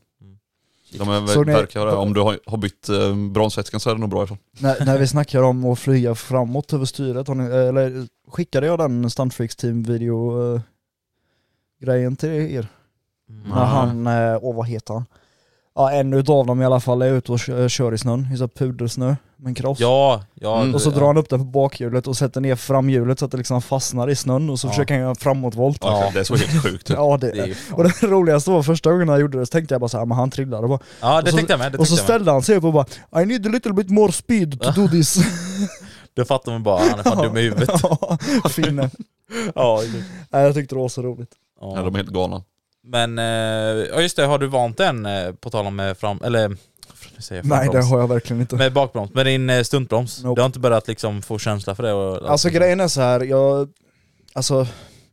Speaker 1: de är,
Speaker 2: Såg Mm. ni-
Speaker 1: verkar ha det. Om du har, har bytt eh, bromsvätskan så är det nog bra ifrån.
Speaker 2: när, när vi snackar om att flyga framåt över styret, har ni, eller skickade jag den Stuntfreaks team video eh, grejen till er? När han, eh, åh vad heter han? Ja en utav dem i alla fall är ute och kö- eh, kör i snön, i så här pudersnö med en kross.
Speaker 3: Ja, ja.
Speaker 1: Mm.
Speaker 3: det-
Speaker 2: Och så
Speaker 3: ja.
Speaker 2: drar han upp den på bakhjulet och sätter ner framhjulet så att det liksom fastnar i snön och så
Speaker 3: Ja. Typ.
Speaker 2: försöker han göra en framåtvolt. Ja,
Speaker 1: Ja. Det såg helt
Speaker 2: (laughs)
Speaker 1: sjukt ut.
Speaker 2: det,
Speaker 3: Det är ju
Speaker 2: Och
Speaker 3: fan.
Speaker 2: det roligaste var första gången han gjorde det så tänkte jag bara såhär, men han trillade bara.
Speaker 3: Ja det
Speaker 2: och så-
Speaker 3: tänkte jag med. Det
Speaker 2: och så
Speaker 3: tänkte jag med.
Speaker 2: ställde han sig upp och bara I need a little bit more speed
Speaker 3: (laughs)
Speaker 2: to do this.
Speaker 3: Då fattar man bara, han är fan dum i huvudet.
Speaker 2: (laughs) Ja, (laughs) Finnen.
Speaker 3: Ja.
Speaker 2: Nej, jag tyckte det var så roligt.
Speaker 1: Ja, de är helt galna.
Speaker 3: Men, eh, ja just det, har du vant en eh, på tal om eh, fram... Eller, nu säger jag
Speaker 2: Nej det
Speaker 3: frambroms.
Speaker 2: har jag verkligen inte.
Speaker 3: Med bakbroms, med din eh, stuntbroms.
Speaker 2: Nope.
Speaker 3: Du har inte börjat liksom få känsla för det? Och,
Speaker 2: Alltså grejen är så här, jag, alltså,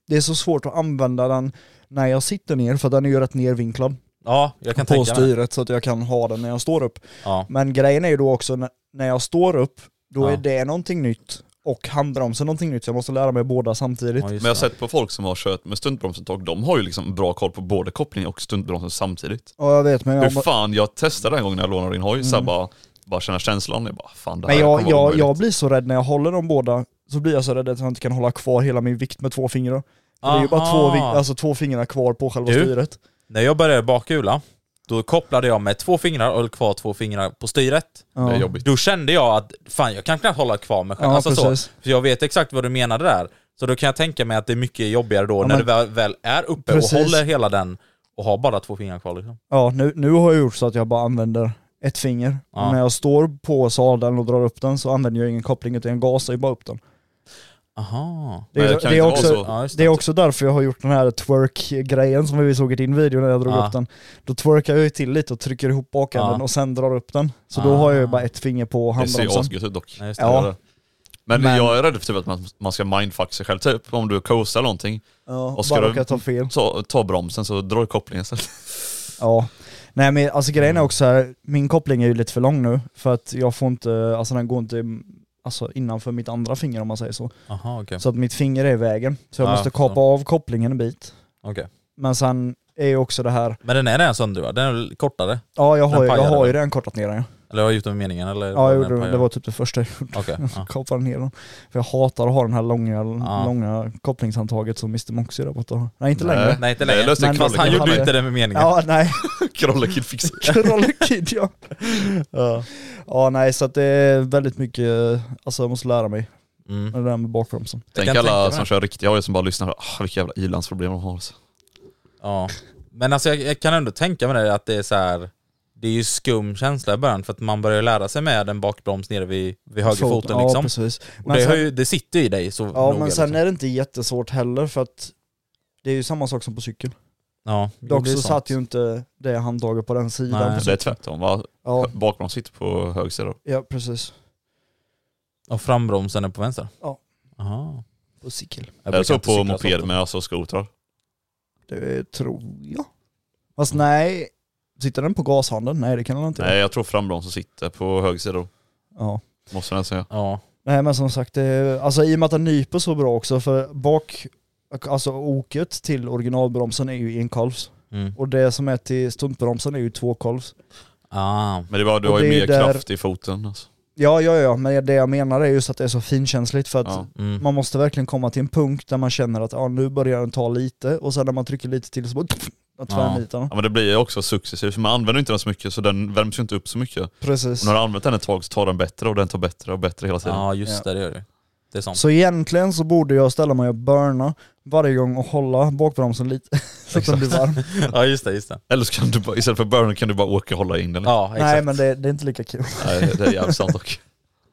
Speaker 2: det är så svårt att använda den när jag sitter ner för den är ju rätt nervinklad
Speaker 3: Ja, jag kan
Speaker 2: på
Speaker 3: tänka mig.
Speaker 2: styret så att jag kan ha den när jag står upp.
Speaker 3: Ja.
Speaker 2: Men grejen är ju då också när- när jag står upp, då
Speaker 3: Ja.
Speaker 2: är det någonting nytt och handbromsen någonting nytt så jag måste lära mig båda samtidigt.
Speaker 3: Ja, just
Speaker 1: Men jag har
Speaker 3: det.
Speaker 1: sett på folk som har kört med stuntbromsen ett tag, de har ju liksom bra koll på både kopplingen och stuntbromsen samtidigt.
Speaker 2: Ja jag vet men jag,
Speaker 1: Hur fan, jag testade den gången när jag lånade din hoj, så här bara, bara känna känslan. Jag bara fan det här
Speaker 2: men jag,
Speaker 1: kommer vara
Speaker 2: jag,
Speaker 1: omöjligt.
Speaker 2: jag blir så rädd när jag håller dem båda, så blir jag så rädd att jag inte kan hålla kvar hela min vikt med två fingrar. För Det är ju bara två,
Speaker 3: Aha.
Speaker 2: ving- alltså, två fingrar kvar på själva
Speaker 3: Du?
Speaker 2: styret.
Speaker 3: När jag började bakhjula, då kopplade jag med två fingrar och höll kvar två fingrar på styret.
Speaker 1: Det är
Speaker 2: Ja.
Speaker 1: jobbigt.
Speaker 3: Då kände jag att fan jag kan knappt hålla kvar mig själv.
Speaker 2: Ja,
Speaker 3: alltså så,
Speaker 2: precis.
Speaker 3: för jag vet exakt vad du menade där. Så då kan jag tänka mig att det är mycket jobbigare då när
Speaker 2: men-
Speaker 3: du väl, väl är uppe
Speaker 2: Precis.
Speaker 3: och håller hela den och har bara två fingrar kvar liksom.
Speaker 2: Ja, nu, nu har jag gjort så att jag bara använder ett finger.
Speaker 3: Ja.
Speaker 2: Och När jag står på sadeln och drar upp den så använder jag ingen koppling utan jag gasar ju bara upp den.
Speaker 3: Aha.
Speaker 2: Det
Speaker 1: Men
Speaker 2: är,
Speaker 1: det
Speaker 2: det
Speaker 1: kan
Speaker 2: är,
Speaker 1: inte vara
Speaker 2: också,
Speaker 1: så.
Speaker 3: Ja, just
Speaker 2: det är också därför jag har gjort den här twerk-grejen som vi såg i din video när jag drog
Speaker 3: Ja.
Speaker 2: upp den. Då twerkar jag ju till lite och trycker ihop bakänden
Speaker 3: Ja.
Speaker 2: och sen drar upp den. Så då har jag ju bara ett finger på
Speaker 1: Ah. Det ser ju
Speaker 2: handbromsen.
Speaker 1: asgött ut dock.
Speaker 3: Ja, just det.
Speaker 2: Ja,
Speaker 1: Men,
Speaker 2: Men-
Speaker 1: jag är rädd för typ att man, man ska mindfucka sig själv, typ om du coastar någonting,
Speaker 2: ja
Speaker 1: Och ska
Speaker 2: bara
Speaker 1: du-
Speaker 2: råkar ta
Speaker 1: (laughs)
Speaker 2: fel.
Speaker 1: så ta bromsen så drar du kopplingen istället.
Speaker 2: Ja. Nej men alltså grejen
Speaker 3: Mm.
Speaker 2: är också här, min koppling är ju lite för lång nu för att jag får inte, alltså den går inte alltså, innanför mitt andra finger om man säger så.
Speaker 3: Aha, okej.
Speaker 2: Så att mitt finger är i vägen. Så jag
Speaker 3: Ja,
Speaker 2: måste kapa
Speaker 3: så.
Speaker 2: av kopplingen en bit.
Speaker 3: Okej.
Speaker 2: Men sen är ju också det här,
Speaker 3: Men den är redan söndervad? Den är väl kortare?
Speaker 2: ja jag har,
Speaker 3: Den
Speaker 2: ju- jag
Speaker 3: pajade
Speaker 2: har ju
Speaker 3: väl?
Speaker 2: redan kortat ner den ja.
Speaker 3: Eller har jag gjort det med meningen? Eller
Speaker 2: Ja jag
Speaker 3: den
Speaker 2: gjorde det,
Speaker 3: pajad?
Speaker 2: det var typ det första jag gjorde.
Speaker 3: Okej, ja.
Speaker 2: Kapade ner den. För jag hatar att ha den här långa,
Speaker 3: Ja.
Speaker 2: långa kopplingshandtaget som Mr Moxie där borta har. Nej (laughs) inte
Speaker 3: (laughs)
Speaker 2: längre.
Speaker 3: Nej inte längre.
Speaker 1: Nej, löste
Speaker 2: Men-
Speaker 3: Fast han
Speaker 2: Krolle-
Speaker 3: gjorde ju
Speaker 2: Krolle-
Speaker 3: inte det med meningen.
Speaker 2: Ja nej, (laughs)
Speaker 1: Krollekid fixar.
Speaker 2: Corolla Kid ja. ja. Ja nej så att det är väldigt mycket, alltså jag måste lära mig
Speaker 3: Mm.
Speaker 2: det där med bakbromsen.
Speaker 3: Jag
Speaker 1: Tänk
Speaker 3: kan tänka mig
Speaker 1: alla som
Speaker 3: det.
Speaker 1: kör riktiga hojar som bara lyssnar. Ah, vilka jävla i-landsproblem de har. alltså."
Speaker 3: Ja. Men alltså jag, jag kan ändå tänka mig det att det är så här. Det är ju skum känsla i början för att man börjar ju lära sig med en bakbroms nere vid, vid högerfoten
Speaker 2: ja,
Speaker 3: liksom.
Speaker 2: Precis.
Speaker 3: Och det,
Speaker 2: sen-
Speaker 3: har ju, det sitter ju i dig så
Speaker 2: Ja
Speaker 3: noga,
Speaker 2: men sen
Speaker 3: liksom.
Speaker 2: är det inte jättesvårt heller för att det är ju samma sak som på cykel.
Speaker 3: Ja,
Speaker 2: Dock
Speaker 3: det är
Speaker 2: så
Speaker 3: sant.
Speaker 2: satt ju inte det handtaget på den sidan.
Speaker 3: Nej.
Speaker 2: på
Speaker 3: Ja.
Speaker 1: Det är
Speaker 2: cykeln.
Speaker 1: tvärtom va?
Speaker 2: Ja,
Speaker 1: Bakbrom sitter på höger sida.
Speaker 2: ja precis.
Speaker 3: Och frambromsen är på vänster?
Speaker 2: Ja.
Speaker 3: Aha.
Speaker 2: På cykel.
Speaker 3: Jag
Speaker 1: Är det
Speaker 3: brukar
Speaker 1: så
Speaker 3: inte
Speaker 1: på
Speaker 3: cykla så
Speaker 1: moped
Speaker 3: ofta.
Speaker 1: med alltså skotrar?
Speaker 2: Det tror jag. Fast
Speaker 3: Mm.
Speaker 2: nej, sitter den på gashanden? Nej det kan den inte göra.
Speaker 1: Nej jag tror frambromsen sitter på höger sida. då.
Speaker 2: Ja.
Speaker 1: Måste den säga.
Speaker 3: Ja.
Speaker 2: Nej men som sagt, det, alltså i och med att den nyper så bra också för bak, alltså oket till originalbromsen är ju en kolvs
Speaker 3: Mm.
Speaker 2: och det som är till stuntbromsen är ju två kolvs.
Speaker 3: Ah.
Speaker 1: Men det är bara, du
Speaker 2: Och
Speaker 1: har ju
Speaker 2: det är
Speaker 1: mer
Speaker 2: där-
Speaker 1: kraft i foten alltså.
Speaker 2: Ja ja ja, men det jag menar är just att det är så finkänsligt för att
Speaker 1: Ja.
Speaker 3: Mm.
Speaker 2: man måste verkligen komma till en punkt där man känner att ja, nu börjar den ta lite och sen när man trycker lite till så bara att
Speaker 3: Ja.
Speaker 2: tvärnitar den.
Speaker 1: Ja men det blir ju också successivt, för man använder ju inte den så mycket så den värms ju inte upp så mycket. Och
Speaker 2: Precis.
Speaker 1: när du har använt den ett tag så tar den bättre och den tar bättre och bättre hela tiden.
Speaker 3: Ja just det, det gör det. Det är
Speaker 2: (laughs)
Speaker 3: sant.
Speaker 2: Så egentligen så borde jag ställa mig och burna varje gång och hålla bakbromsen lite (laughs) så att den blir varm.
Speaker 3: ja just det, just det.
Speaker 1: Eller så kan du bara, istället för burner kan du bara åka och hålla in den.
Speaker 3: Ja, exakt.
Speaker 2: Nej men det, det är inte lika kul.
Speaker 1: Nej, det är
Speaker 3: (laughs)
Speaker 1: jävligt sant dock.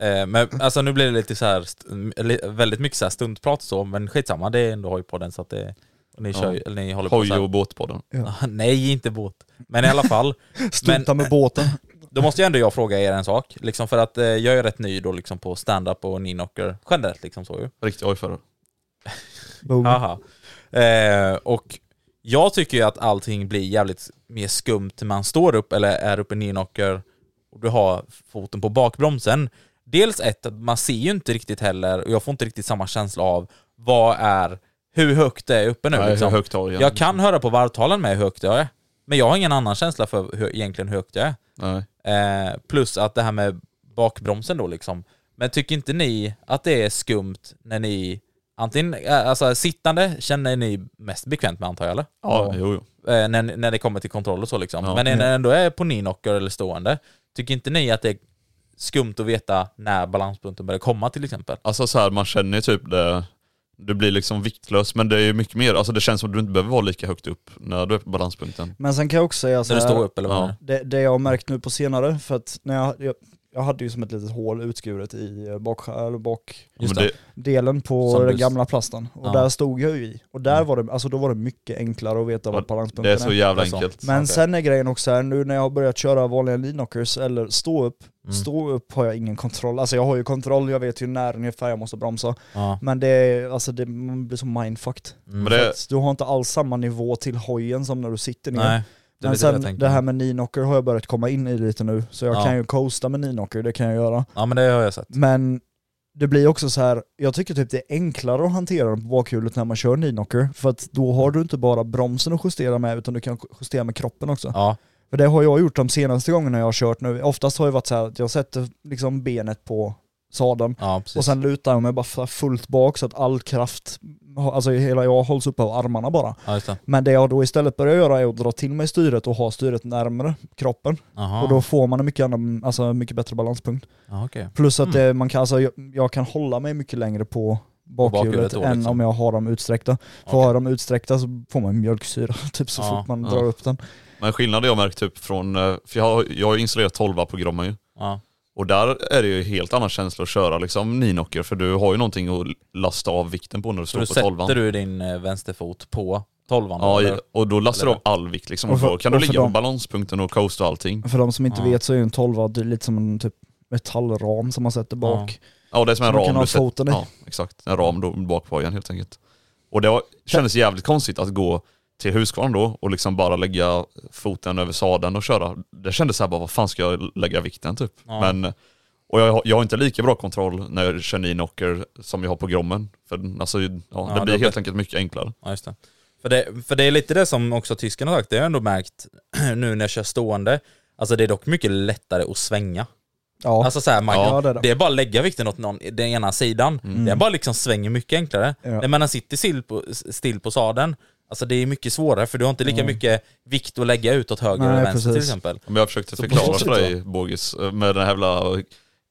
Speaker 3: Eh, men alltså nu blir det lite så här, st- m- li- väldigt mycket så här stuntprat och så, men skitsamma, det är ändå hojpodden så att det, och ni,
Speaker 1: Ja.
Speaker 3: kör, ju- eller ni håller på
Speaker 1: Hoj
Speaker 3: så här.
Speaker 1: och båtpodden.
Speaker 3: (laughs) Nej, inte båt. Men i alla fall,
Speaker 2: Stunta med båten.
Speaker 3: då måste ju ändå jag fråga er en sak, liksom för att eh, jag är ju rätt ny då liksom på stand-up och knocker generellt liksom så ju.
Speaker 1: Riktig hojförare.
Speaker 2: Boom.
Speaker 3: Haha. Eh, och jag tycker ju att allting blir jävligt mer skumt när man står upp eller är uppe nednocker och du har foten på bakbromsen. Dels ett, att man ser ju inte riktigt heller och jag får inte riktigt samma känsla av vad är, hur högt det är uppe nu
Speaker 1: Nej,
Speaker 3: liksom.
Speaker 1: högt har jag.
Speaker 3: Jag kan höra på varvtalen med hur högt jag är, men jag har ingen annan känsla för hur, egentligen hur högt jag är.
Speaker 1: Nej.
Speaker 3: Eh, plus att det här med bakbromsen då liksom. Men tycker inte ni att det är skumt när ni antingen, eh, alltså sittande känner ni mest bekvämt med antar jag eller?
Speaker 1: Ja, jo, jo.
Speaker 3: Eh, när, när det kommer till kontroll och så liksom.
Speaker 1: Ja.
Speaker 3: Men när ni ändå är på ninocker eller stående, tycker inte ni att det är skumt att veta när balanspunkten börjar komma till exempel?
Speaker 1: Alltså så här, man känner ju typ det, du blir liksom viktlös men det är ju mycket mer, alltså det känns som att du inte behöver vara lika högt upp när du är på balanspunkten.
Speaker 2: Men sen kan jag också säga så
Speaker 3: När du
Speaker 2: här-
Speaker 3: står upp eller vad
Speaker 1: Ja.
Speaker 3: menar du?
Speaker 2: det, det jag har märkt nu på senare, för att när jag, jag, jag hade ju som ett litet hål utskuret i eh, bak, eller
Speaker 3: Just
Speaker 1: men
Speaker 3: det.
Speaker 2: bakdelen på
Speaker 3: Som du-
Speaker 2: den gamla plasten. Och
Speaker 3: Ja.
Speaker 2: där stod jag ju i. Och där
Speaker 3: Mm.
Speaker 2: var det, alltså då var det mycket enklare att veta
Speaker 1: Ja,
Speaker 2: vad
Speaker 1: det, det är
Speaker 2: balanspunkten
Speaker 1: så
Speaker 2: är.
Speaker 1: jävla
Speaker 3: Det är sant.
Speaker 1: enkelt.
Speaker 2: Men
Speaker 3: Okej.
Speaker 2: sen är grejen också här, nu när jag har börjat köra vanliga leadknockers eller stå upp,
Speaker 3: Mm.
Speaker 2: stå upp har jag ingen kontroll. Alltså jag har ju kontroll, jag vet ju när ungefär jag måste bromsa.
Speaker 3: Ja.
Speaker 2: Men det är, alltså det man blir så mindfucked.
Speaker 3: Mm.
Speaker 1: Men det,
Speaker 2: Att Du har inte alls samma nivå till hojen som när du sitter ner.
Speaker 3: Nej, det är
Speaker 2: Men
Speaker 3: lite det jag
Speaker 2: sen
Speaker 3: tänker.
Speaker 2: det här med knocker har jag börjat komma in i lite nu, så jag
Speaker 3: Ja.
Speaker 2: kan ju coasta med knocker, det kan jag göra.
Speaker 3: Ja men det har jag sett.
Speaker 2: Men det blir också så här, jag tycker typ det är enklare att hantera den på bakhjulet när man kör knocker för att då har du inte bara bromsen att justera med utan du kan justera med kroppen också.
Speaker 3: Ja.
Speaker 2: För det har jag gjort de senaste gångerna jag har kört nu. Oftast har det varit så här att jag sätter liksom benet på sadeln
Speaker 3: Ja precis.
Speaker 2: och sen lutar jag mig bara så här fullt bak så att all kraft, alltså hela jag hålls uppe av armarna bara.
Speaker 3: ja, just det.
Speaker 2: Men det jag då istället börjar göra är att dra till mig styret och ha styret närmare kroppen.
Speaker 3: Aha.
Speaker 2: Och då får man en mycket, annan, alltså mycket bättre balanspunkt.
Speaker 3: ja, okej.
Speaker 2: Plus att
Speaker 3: Mm.
Speaker 2: det, man kan, alltså, jag, jag kan hålla mig mycket längre på
Speaker 3: bakhjulet
Speaker 2: bakhjulet
Speaker 3: då,
Speaker 2: än
Speaker 3: liksom.
Speaker 2: om jag har dem utsträckta. För
Speaker 3: Okej.
Speaker 2: har jag dem utsträckta så får man mjölksyra (laughs) typ så
Speaker 3: Ja,
Speaker 2: fort man
Speaker 1: ja.
Speaker 2: drar upp den.
Speaker 1: men skillnaden jag märkt typ från, eh, för jag har, jag har ju installerat 12 programmen ju.
Speaker 3: Ja.
Speaker 1: Och där är det ju helt annan känsla att köra liksom ninocker för du har ju någonting att lasta av vikten på när du
Speaker 3: Så
Speaker 1: står
Speaker 3: då
Speaker 1: på tolvan.
Speaker 3: sätter du din eh, vänsterfot på tolvan?
Speaker 1: Ja,
Speaker 3: eller?
Speaker 1: i- och då lastar du av
Speaker 3: Eller?
Speaker 1: all vikt liksom.
Speaker 2: Och
Speaker 1: Och
Speaker 2: för-
Speaker 1: då kan du
Speaker 2: och för
Speaker 1: ligga på
Speaker 2: dem.
Speaker 1: balanspunkten och coasta och allting.
Speaker 2: För de som inte
Speaker 3: Ja.
Speaker 2: vet så är ju en 12 det är lite som en typ metallram som man sätter bak.
Speaker 1: Ja, det är som en
Speaker 2: Så man
Speaker 1: ram.
Speaker 2: kan ha
Speaker 1: du sätter-
Speaker 2: foten i.
Speaker 1: Ja, exakt. En ram då bak på hojen helt enkelt. Och det var, kändes jävligt konstigt att gå till Husqvarna då och liksom bara lägga foten över sadeln och köra. Det kändes så här bara, vad fan ska jag lägga vikten typ?
Speaker 3: Ja.
Speaker 1: Men, och jag, har- jag har inte lika bra kontroll när jag kör knocker som jag har på grommen. För den- alltså, ja,
Speaker 3: det
Speaker 1: det blir helt
Speaker 3: blir-
Speaker 1: enkelt mycket enklare.
Speaker 3: Ja, just det. För, det, för det är lite det som också tysken har sagt, det har jag ändå märkt (clears throat) nu när jag kör stående. Alltså det är dock mycket lättare att svänga.
Speaker 2: Ja.
Speaker 3: Alltså så här, man,
Speaker 2: Ja, det
Speaker 3: det,
Speaker 2: är
Speaker 3: är
Speaker 2: det. Mm.
Speaker 3: bara att lägga vikten åt någon, den ena sidan. Den bara liksom svänger mycket enklare.
Speaker 2: Ja.
Speaker 3: När man sitter still på, still på sadeln, alltså det är mycket svårare för du har inte lika mycket vikt att lägga ut åt höger
Speaker 2: Nej,
Speaker 3: och vänster till
Speaker 2: precis.
Speaker 3: exempel.
Speaker 1: Men jag försökte
Speaker 2: på
Speaker 1: förklara
Speaker 2: så
Speaker 1: för
Speaker 2: sätt,
Speaker 1: dig Bogis, med den här jävla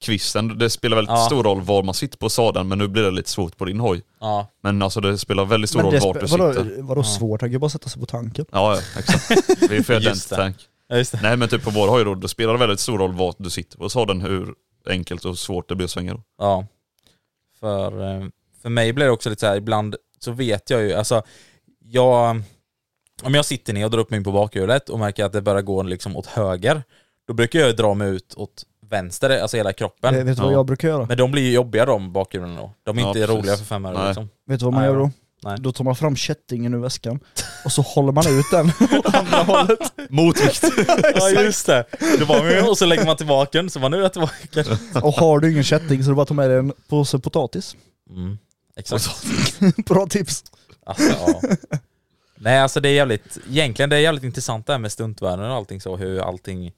Speaker 1: kvisten. Det spelar väldigt
Speaker 3: Ja.
Speaker 1: stor roll var man sitter på sadeln men nu blir det lite svårt på din hoj.
Speaker 3: Ja.
Speaker 1: Men alltså det spelar väldigt stor
Speaker 2: Men
Speaker 1: roll
Speaker 2: det
Speaker 1: vart
Speaker 2: spe-
Speaker 1: du sitter.
Speaker 2: vadå, vadå svårt? Han kan ju bara sätta sig på tanken.
Speaker 1: Ja, ja exakt. Vi är för
Speaker 3: Just
Speaker 1: Just
Speaker 3: det.
Speaker 1: tank.
Speaker 3: Ja, just det.
Speaker 1: Nej men typ på vår hoj då, då spelar det väldigt stor roll vart du sitter på sadeln, hur enkelt och svårt det blir att svänga då.
Speaker 3: Ja. För, eh, för mig blir det också lite så här, ibland så vet jag ju, alltså jag, om jag sitter ner och drar upp mig på bakhjulet och märker att det börjar gå liksom åt höger, då brukar jag ju dra mig ut åt vänster, alltså hela kroppen.
Speaker 2: Eh, vet du vad
Speaker 1: ja.
Speaker 2: jag brukar göra?
Speaker 3: Men de blir ju jobbiga de bakhjulen då. De är
Speaker 1: Ja,
Speaker 3: inte
Speaker 1: precis.
Speaker 3: roliga för fem öre
Speaker 1: Nej.
Speaker 3: liksom.
Speaker 2: Vet du vad man
Speaker 3: Nej,
Speaker 2: gör då?
Speaker 3: nej.
Speaker 2: Då tar man fram kättingen ur väskan och så håller man ut
Speaker 3: (laughs)
Speaker 2: den åt andra hållet.
Speaker 1: Motvikt!
Speaker 3: Ja just det. det var, och så lägger man tillbaka den, så var nu är jag tillbaka.
Speaker 2: Och har du ingen kätting så är det bara att ta med dig en påse potatis. (laughs)
Speaker 3: Mm, exakt.
Speaker 2: Bra tips!
Speaker 3: Alltså, ja. Nej alltså det är jävligt, egentligen det är jävligt intressant det här med stuntvärlden och allting så, hur allting...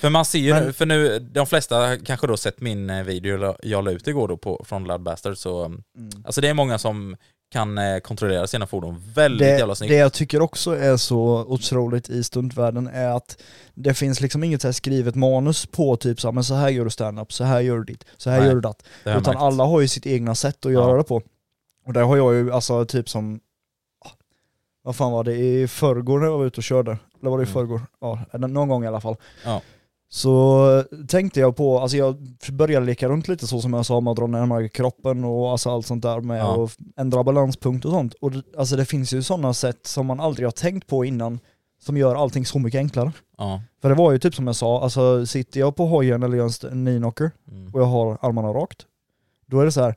Speaker 3: För man ser ju,
Speaker 2: Men-
Speaker 3: för nu, de flesta kanske då sett min eh, video la- jag la ut igår då på, från Ludbastard så, mm. alltså det är många som kan eh, kontrollera sina fordon väldigt jävla
Speaker 2: Det,
Speaker 3: snyggt.
Speaker 2: det jag tycker också är så otroligt i stuntvärlden är att det finns liksom inget så här skrivet manus på typ så här, men så här gör du stand-up, så här gör du ditt, så här
Speaker 3: Nej,
Speaker 2: gör du datt.
Speaker 3: det har jag
Speaker 2: Utan
Speaker 3: märkt.
Speaker 2: alla har ju sitt egna sätt att göra
Speaker 3: Ja.
Speaker 2: det på. Och där har jag ju alltså typ som, ah, vad fan var det, i förrgår när jag var ute och körde, eller var det i
Speaker 3: Mm.
Speaker 2: förrgår? Ja, n- någon gång i alla fall.
Speaker 3: Ja.
Speaker 2: Så tänkte jag på, alltså jag började leka runt lite så som jag sa med att dra närmare kroppen och alltså allt sånt där med
Speaker 3: Ja.
Speaker 2: att ändra balanspunkt och sånt. Och det- alltså det finns ju sådana sätt som man aldrig har tänkt på innan som gör allting så mycket enklare.
Speaker 3: Ja.
Speaker 2: För det var ju typ som jag sa, alltså sitter jag på hojen eller gör en st- en knee-knocker
Speaker 3: Mm.
Speaker 2: och jag har armarna rakt, då är det så här.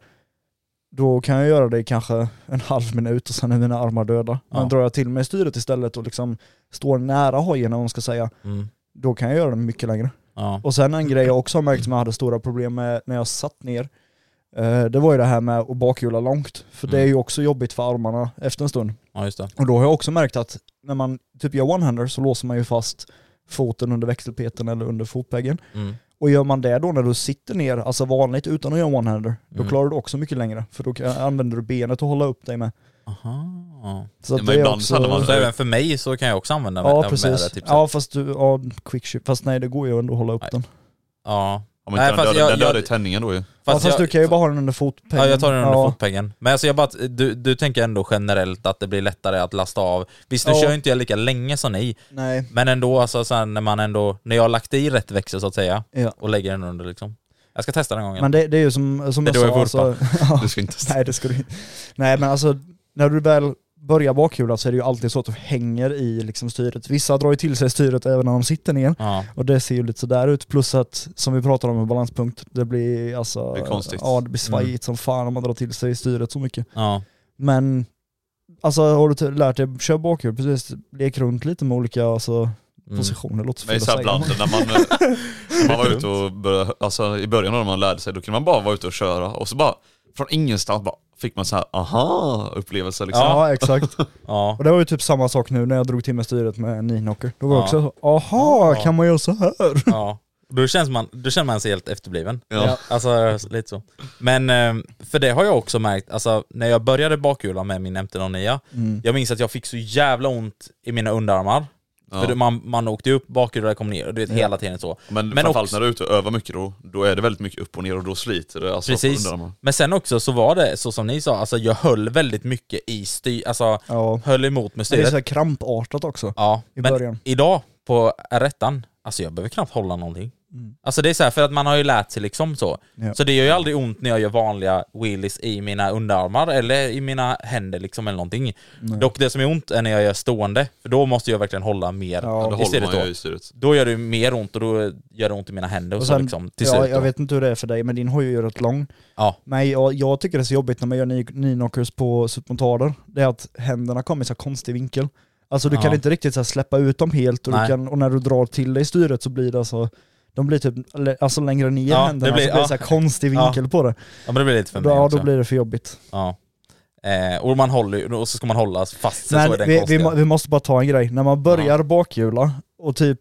Speaker 2: Då kan jag göra det i kanske en halv minut och sen är mina armar döda. Men
Speaker 3: Ja.
Speaker 2: drar jag till mig styret istället och liksom står nära hojen om man ska säga,
Speaker 3: Mm.
Speaker 2: då kan jag göra det mycket längre.
Speaker 3: Ja.
Speaker 2: Och sen en grej jag också har märkt som jag hade stora problem med när jag satt ner, eh, det var ju det här med att bakhjula långt. För det är
Speaker 3: Mm.
Speaker 2: ju också jobbigt för armarna efter en stund.
Speaker 3: ja, just det.
Speaker 2: Och då har jag också märkt att när man typ gör one-hander så låser man ju fast foten under växelpeten eller under fotpeggen.
Speaker 3: Mm.
Speaker 2: Och gör man det då när du sitter ner, alltså vanligt utan att göra one-hander, då
Speaker 3: Mm.
Speaker 2: klarar du också mycket längre. För då kan- använder du benet att hålla upp dig med.
Speaker 3: Aha.
Speaker 2: Så
Speaker 1: Ja, men ibland så hade man-
Speaker 3: Så även för mig så kan jag också använda med-
Speaker 2: Ja
Speaker 3: med det här
Speaker 2: precis.
Speaker 3: tipset.
Speaker 2: Ja fast du, ja quick ship. Fast nej det går ju ändå att hålla upp
Speaker 3: Nej.
Speaker 2: den.
Speaker 3: Ja.
Speaker 1: Ja,
Speaker 3: Nej,
Speaker 1: men inte
Speaker 3: fast
Speaker 1: den
Speaker 3: jag-
Speaker 1: dödar den
Speaker 3: jag-
Speaker 1: dödar ju tändningen då ju.
Speaker 2: Fast, ja, fast du kan ju bara ha den under fotpeggen.
Speaker 3: Ja, jag tar den under
Speaker 2: Ja.
Speaker 3: fotpengen. Men alltså jag bara, du, du tänker ändå generellt att det blir lättare att lasta av. Visst, nu
Speaker 2: Ja.
Speaker 3: kör ju inte jag lika länge som ni,
Speaker 2: Nej.
Speaker 3: men ändå alltså sen när man ändå, när jag har lagt i rätt växel så att säga,
Speaker 2: Ja.
Speaker 3: och lägger den under liksom. Jag ska testa den gången.
Speaker 2: Men det, det är ju som, som
Speaker 3: Det är
Speaker 2: jag
Speaker 3: då jag
Speaker 2: sa,
Speaker 3: vurpar.
Speaker 2: alltså, ja.
Speaker 1: Du ska inte
Speaker 2: (laughs) Nej det ska du inte. Nej men alltså, när du väl börjar bakhjula så är det ju alltid så att du hänger i liksom styret. Vissa drar ju till sig styret även när de sitter ner.
Speaker 3: ja.
Speaker 2: Och det ser ju lite sådär ut, plus att som vi pratade om med balanspunkt, det blir alltså...
Speaker 1: Det är konstigt. Mm.
Speaker 2: Ja det blir svajigt som fan om man drar till sig styret så mycket.
Speaker 3: Ja.
Speaker 2: Men, alltså har du t- lärt dig köra bakhjul, precis, lek runt lite med olika alltså,
Speaker 3: Mm.
Speaker 2: positioner, låter så
Speaker 1: Men
Speaker 2: fel
Speaker 1: så här
Speaker 2: att
Speaker 1: ibland
Speaker 2: säga.
Speaker 1: när man, eh, när
Speaker 3: (laughs)
Speaker 1: man var ute och började, alltså i början när man lärde sig, då kunde man bara vara ute och köra och så bara från ingenstans bara fick man så här aha upplevelse liksom.
Speaker 2: Ja exakt.
Speaker 3: Ja.
Speaker 2: Och det var ju typ samma sak nu när jag drog till med styret med en knee-knocker. Då var
Speaker 3: Ja.
Speaker 2: jag också så, aha
Speaker 3: Ja.
Speaker 2: kan man göra så här?
Speaker 3: ja. Då, känns man, då känner man sig helt efterbliven.
Speaker 1: Ja.
Speaker 3: Alltså lite så. Men eh, för det har jag också märkt, alltså när jag började bakhjula med min MT-09,
Speaker 2: Mm.
Speaker 3: jag minns att jag fick så jävla ont i mina underarmar. För det- man, man åkte ju upp bakhjulet och kom ner, och du vet hela tiden så.
Speaker 1: Men, framförallt när du är ute och övar mycket då, då är det väldigt mycket upp och ner och då sliter det alltså
Speaker 3: Precis.
Speaker 1: på underarmarna.
Speaker 3: Men sen också så var det så som ni sa, alltså jag höll väldigt mycket i styr, alltså
Speaker 2: Ja.
Speaker 3: höll emot med
Speaker 2: Det är så
Speaker 3: styret.
Speaker 2: här krampartat också.
Speaker 3: Typ. Ja,
Speaker 2: i
Speaker 3: men
Speaker 2: början.
Speaker 3: idag på R1, alltså jag behöver knappt hålla någonting. Alltså det är så här, för att man har ju lärt sig liksom så.
Speaker 2: Mm. Ja.
Speaker 3: Så det gör ju aldrig ont när jag gör vanliga wheelies i mina underarmar eller i mina händer liksom eller någonting. Dock det som är ont är när jag gör stående, för då måste jag verkligen hålla mer
Speaker 2: Ja.
Speaker 1: Då
Speaker 3: i
Speaker 1: håller
Speaker 3: styret
Speaker 1: man
Speaker 3: då.
Speaker 1: ju i styret.
Speaker 3: Då gör det ju mer ont och då gör det ont i mina händer och, så liksom till
Speaker 2: ja,
Speaker 3: slut.
Speaker 2: jag
Speaker 3: då.
Speaker 2: vet inte hur det är för dig men din har ju rätt lång.
Speaker 3: Ja.
Speaker 2: Men jag, jag tycker det är så jobbigt när man gör ny- knee-knockers på submontader, det är att händerna kommer i så här konstig vinkel. Alltså du kan
Speaker 3: Ja.
Speaker 2: inte riktigt så här, släppa ut dem helt och, du
Speaker 3: Nej.
Speaker 2: kan, och när du drar till dig styret så blir det alltså de blir typ le- alltså längre ner
Speaker 3: Ja,
Speaker 2: händerna,
Speaker 3: det blir-
Speaker 2: så blir det
Speaker 3: ja.
Speaker 2: så här konstig
Speaker 3: Ja.
Speaker 2: vinkel på det.
Speaker 3: Ja men det blir lite för mig
Speaker 2: Ja,
Speaker 3: också.
Speaker 2: då blir det för jobbigt.
Speaker 3: Ja. Eh, och, man håller, ju- och så ska man hålla fast sig
Speaker 2: Men
Speaker 3: så i den
Speaker 2: vi, vi,
Speaker 3: konstiga.
Speaker 2: må- vi måste bara ta en grej. När man börjar bakhjula och typ,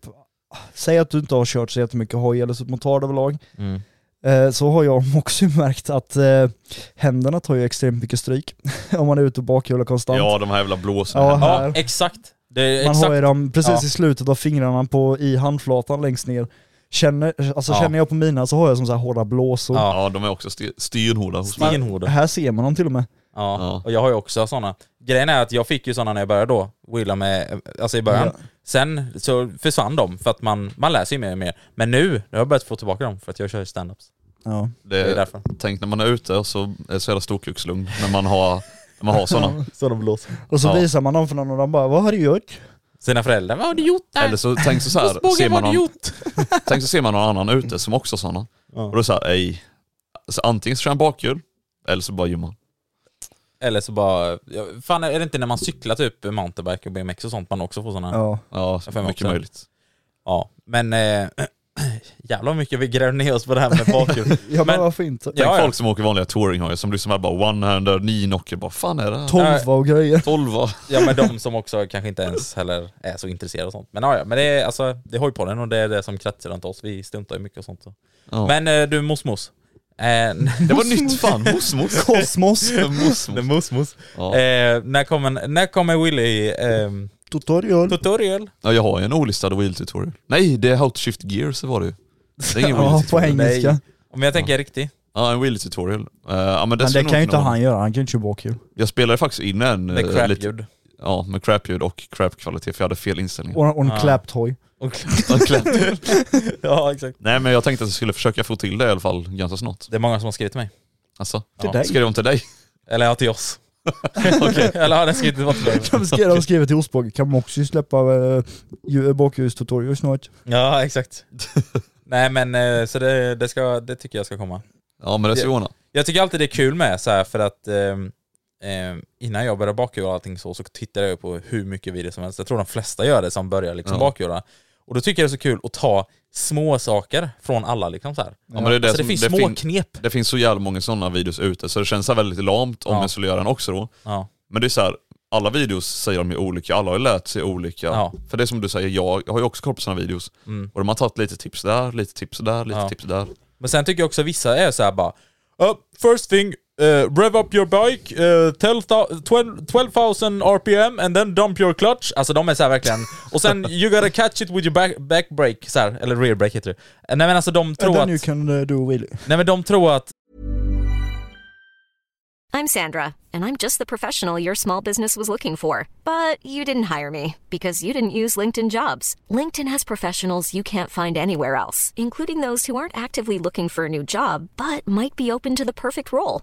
Speaker 2: säg att du inte har kört så jättemycket hoj eller motard överlag,
Speaker 3: Mm.
Speaker 2: eh, så har jag (laughs) också märkt att eh, händerna tar ju extremt mycket stryk (laughs) om man är ute och bakhjular konstant.
Speaker 1: Ja de här jävla blåsorna.
Speaker 2: Ja,
Speaker 1: Ja.
Speaker 3: Ja
Speaker 2: här.
Speaker 3: exakt. Det är
Speaker 2: man
Speaker 3: exakt.
Speaker 2: har ju dem precis
Speaker 3: Ja.
Speaker 2: i slutet av fingrarna på, i handflatan längst ner. Känner, alltså
Speaker 3: Ja.
Speaker 2: känner jag på mina så har jag som så här hårda blåsor.
Speaker 3: Ja.
Speaker 1: ja de är också st- stenhårda hos mig.
Speaker 3: Stenhård.
Speaker 2: Här ser man dem till och med.
Speaker 3: Ja.
Speaker 1: Ja.
Speaker 3: och jag har ju också sådana. Grejen är att jag fick ju sådana när jag började då, wheela med, alltså i början.
Speaker 2: Ja.
Speaker 3: Sen så försvann de för att man, man lär sig ju mer och mer. Men nu, nu har jag börjat få tillbaka dem för att jag kör stand-ups.
Speaker 2: Ja.
Speaker 1: Det
Speaker 3: Det är
Speaker 1: är,
Speaker 3: därför.
Speaker 1: tänk när man är ute och så är det så jävla storkukslugn när man har, när man har sådana.
Speaker 3: Så de blåser.
Speaker 2: Och så
Speaker 1: Ja.
Speaker 2: visar man dem för någon och de bara 'Vad har du gjort?'
Speaker 3: Sina föräldrar, vad har du gjort där?
Speaker 1: Eller så tänk så, så här,
Speaker 3: Båge,
Speaker 1: ser
Speaker 3: vad
Speaker 1: man
Speaker 3: har du
Speaker 1: någon,
Speaker 3: gjort?
Speaker 1: (laughs) tänk så ser man någon annan ute som också har sådana. Och då är det såhär, ej. Alltså, antingen så kör han bakhjul, eller så bara gymmar han.
Speaker 3: Eller så bara, ja, fan är det inte när man cyklar typ mountainbike och BMX och sånt man också får sådana? Ja.
Speaker 2: Ja.
Speaker 1: Ja,
Speaker 3: Jag får mig
Speaker 1: mycket
Speaker 3: också.
Speaker 1: möjligt.
Speaker 3: Men eh, (clears throat) jävlar vad mycket vi grävde ner oss på det här med bakhjul.
Speaker 2: Ja men,
Speaker 3: Men-
Speaker 2: varför inte?
Speaker 3: Ja,
Speaker 1: Tänk
Speaker 3: ja.
Speaker 1: folk som åker vanliga touringhojar som liksom är bara one-hander, nio knocker, bara fan är det här?
Speaker 2: Tolva och grejer.
Speaker 3: (laughs)
Speaker 1: Tolva.
Speaker 3: Ja men de som också kanske inte ens heller är så intresserade och sånt. Men ja, ja men det är alltså, det är hojpodden och det är det som kretsar runt oss. Vi stuntar ju mycket och sånt. Så.
Speaker 1: Ja.
Speaker 3: Men eh, du mosmos. Eh,
Speaker 1: (laughs) Det var nytt fan, (laughs) mosmos.
Speaker 2: Kosmos.
Speaker 1: Mosmos.
Speaker 3: (laughs) mosmos.
Speaker 1: Ja.
Speaker 3: Eh, när kommer, när kommer Willy ehm,
Speaker 2: Tutorial.
Speaker 3: tutorial?
Speaker 1: Ja, jag har ju en olistad wheel tutorial. Nej, det är how to shift gears var det ju. Det är ingen wheel
Speaker 2: Ja, på
Speaker 1: tutorial.
Speaker 2: engelska.
Speaker 3: Nej. Om jag tänker riktigt.
Speaker 1: Ja, en wheel tutorial. Eh, ja, men det,
Speaker 2: Men
Speaker 1: ska
Speaker 2: det
Speaker 1: nog
Speaker 2: kan ju inte
Speaker 1: kunna vara.
Speaker 2: han göra, han kan ju inte köra bakhjul.
Speaker 1: Jag spelade faktiskt in en...
Speaker 3: Med
Speaker 1: eh,
Speaker 3: crap-ljud.
Speaker 1: Ja, med crap-ljud och crap-kvalitet för jag hade fel inställningar.
Speaker 2: Och, och en
Speaker 3: Ja.
Speaker 2: clapped hoj.
Speaker 3: (laughs) Och-
Speaker 1: Och clap.
Speaker 3: (laughs) ja exakt.
Speaker 1: Nej men jag tänkte att jag skulle försöka få till det i alla fall ganska snart.
Speaker 3: Det är många som har skrivit till mig.
Speaker 1: Alltså,
Speaker 2: Till
Speaker 3: Ja.
Speaker 2: dig.
Speaker 1: skrev de till dig?
Speaker 3: Eller ja, till
Speaker 1: (laughs)
Speaker 3: oss. (laughs) Eller har den skrivit vad till dig?
Speaker 2: De skrev, de skrev till Osborg, kan man också släppa äh, bakhustutorial snart?
Speaker 1: (laughs)
Speaker 3: Ja exakt. Nej men eh, så det, det, ska, det tycker jag ska komma.
Speaker 1: Ja men det ska vi ordna.
Speaker 3: Jag tycker alltid det är kul med så här för att ehm, ehm, innan jag började bakhjula och allting så, så tittade jag på hur mycket videos som helst. Jag tror de flesta gör det som börjar liksom
Speaker 1: Ja.
Speaker 3: bakhjula. Och då tycker jag det är så kul att ta små saker från alla liksom så här.
Speaker 1: Ja, men det, är det,
Speaker 3: alltså, det
Speaker 1: som,
Speaker 3: finns
Speaker 1: det,
Speaker 3: små
Speaker 1: fin-
Speaker 3: knep.
Speaker 1: det finns så jävla många sådana videos ute så det känns så här väldigt lamt om
Speaker 3: Ja.
Speaker 1: jag skulle göra en också då.
Speaker 3: Ja.
Speaker 1: Men det är så här, alla videos säger de ju olika, alla har ju lärt sig olika.
Speaker 3: Ja.
Speaker 1: För det är som du säger, jag, jag har ju också koll på sådana videos.
Speaker 3: Mm.
Speaker 1: Och de har tagit lite tips där, lite tips där, lite
Speaker 3: Ja.
Speaker 1: tips där.
Speaker 3: Men sen tycker jag också vissa är så här bara "Uh, First thing, uh, rev up your bike, uh, tell thou- 12 12,000 RPM and then dump your clutch. Alltså de är så här verkligen. Och sen you gotta catch it with your back, back brake, så här, eller rear brake heter det. Eh, Nej men alltså de tror att...
Speaker 2: Then you can eh, do wheelie.
Speaker 3: Nej men de tror att
Speaker 4: I'm Sandra, and I'm just the professional your small business was looking for. But you didn't hire me because you didn't use LinkedIn jobs. LinkedIn has professionals you can't find anywhere else, including those who aren't actively looking for a new job but might be open to the perfect role,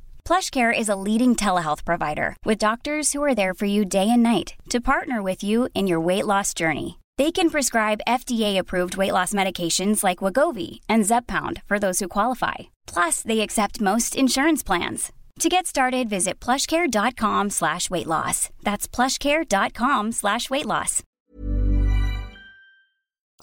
Speaker 5: PlushCare is a leading telehealth provider with doctors who are there for you day and night to partner with you in your weight loss journey. They can prescribe FDA-approved weight loss medications like Wagovi and Zepbound for those who qualify. Plus, they accept most insurance plans. To get started, visit plushcare.com slash weight loss. That's plushcare.com slash weight loss.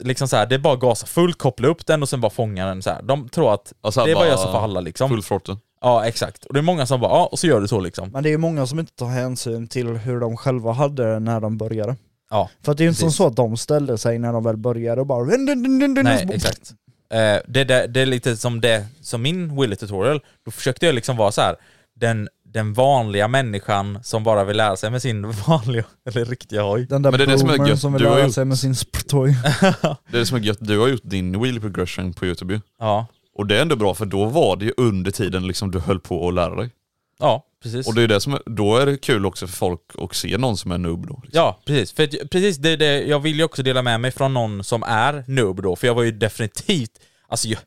Speaker 3: liksom så här, det är bara att gasa fullt, koppla upp den och sen bara fånga den så här. De tror att
Speaker 1: Alltså,
Speaker 3: det är bara
Speaker 1: bara
Speaker 3: att göra så för alla liksom.
Speaker 1: Full throttle.
Speaker 3: Ja exakt. Och det är många som bara ja, och så gör du så liksom.
Speaker 2: Men det är ju många som inte tar hänsyn till hur de själva hade det när de började.
Speaker 3: Ja.
Speaker 2: För att det är ju inte som
Speaker 3: Precis.
Speaker 2: så att de ställde sig när de väl började och bara... Nej,
Speaker 3: Nej, exakt. Eh, det, det, det är lite som det, som min Willy tutorial, då försökte jag liksom vara så här den, den vanliga människan som bara vill lära sig med sin (laughs) vanliga, eller riktiga hoj.
Speaker 2: Den där
Speaker 1: Men det är det som är
Speaker 2: boomern som,
Speaker 1: gött.
Speaker 2: vill
Speaker 1: Du har
Speaker 2: lära
Speaker 1: gjort-
Speaker 2: sig med sin sporttoy.
Speaker 1: Det är det som är gött, du har gjort din wheel progression på youtube ju.
Speaker 3: Ja,
Speaker 1: Och det är ändå bra för då var det ju under tiden liksom du höll på att lära dig.
Speaker 3: ja precis.
Speaker 1: Och det är det som, är- då är det kul också för folk att se någon som är noob då. Liksom.
Speaker 3: Ja, precis. För att- precis det, det, jag vill ju också dela med mig från någon som är noob då, för jag var ju definitivt Alltså jag,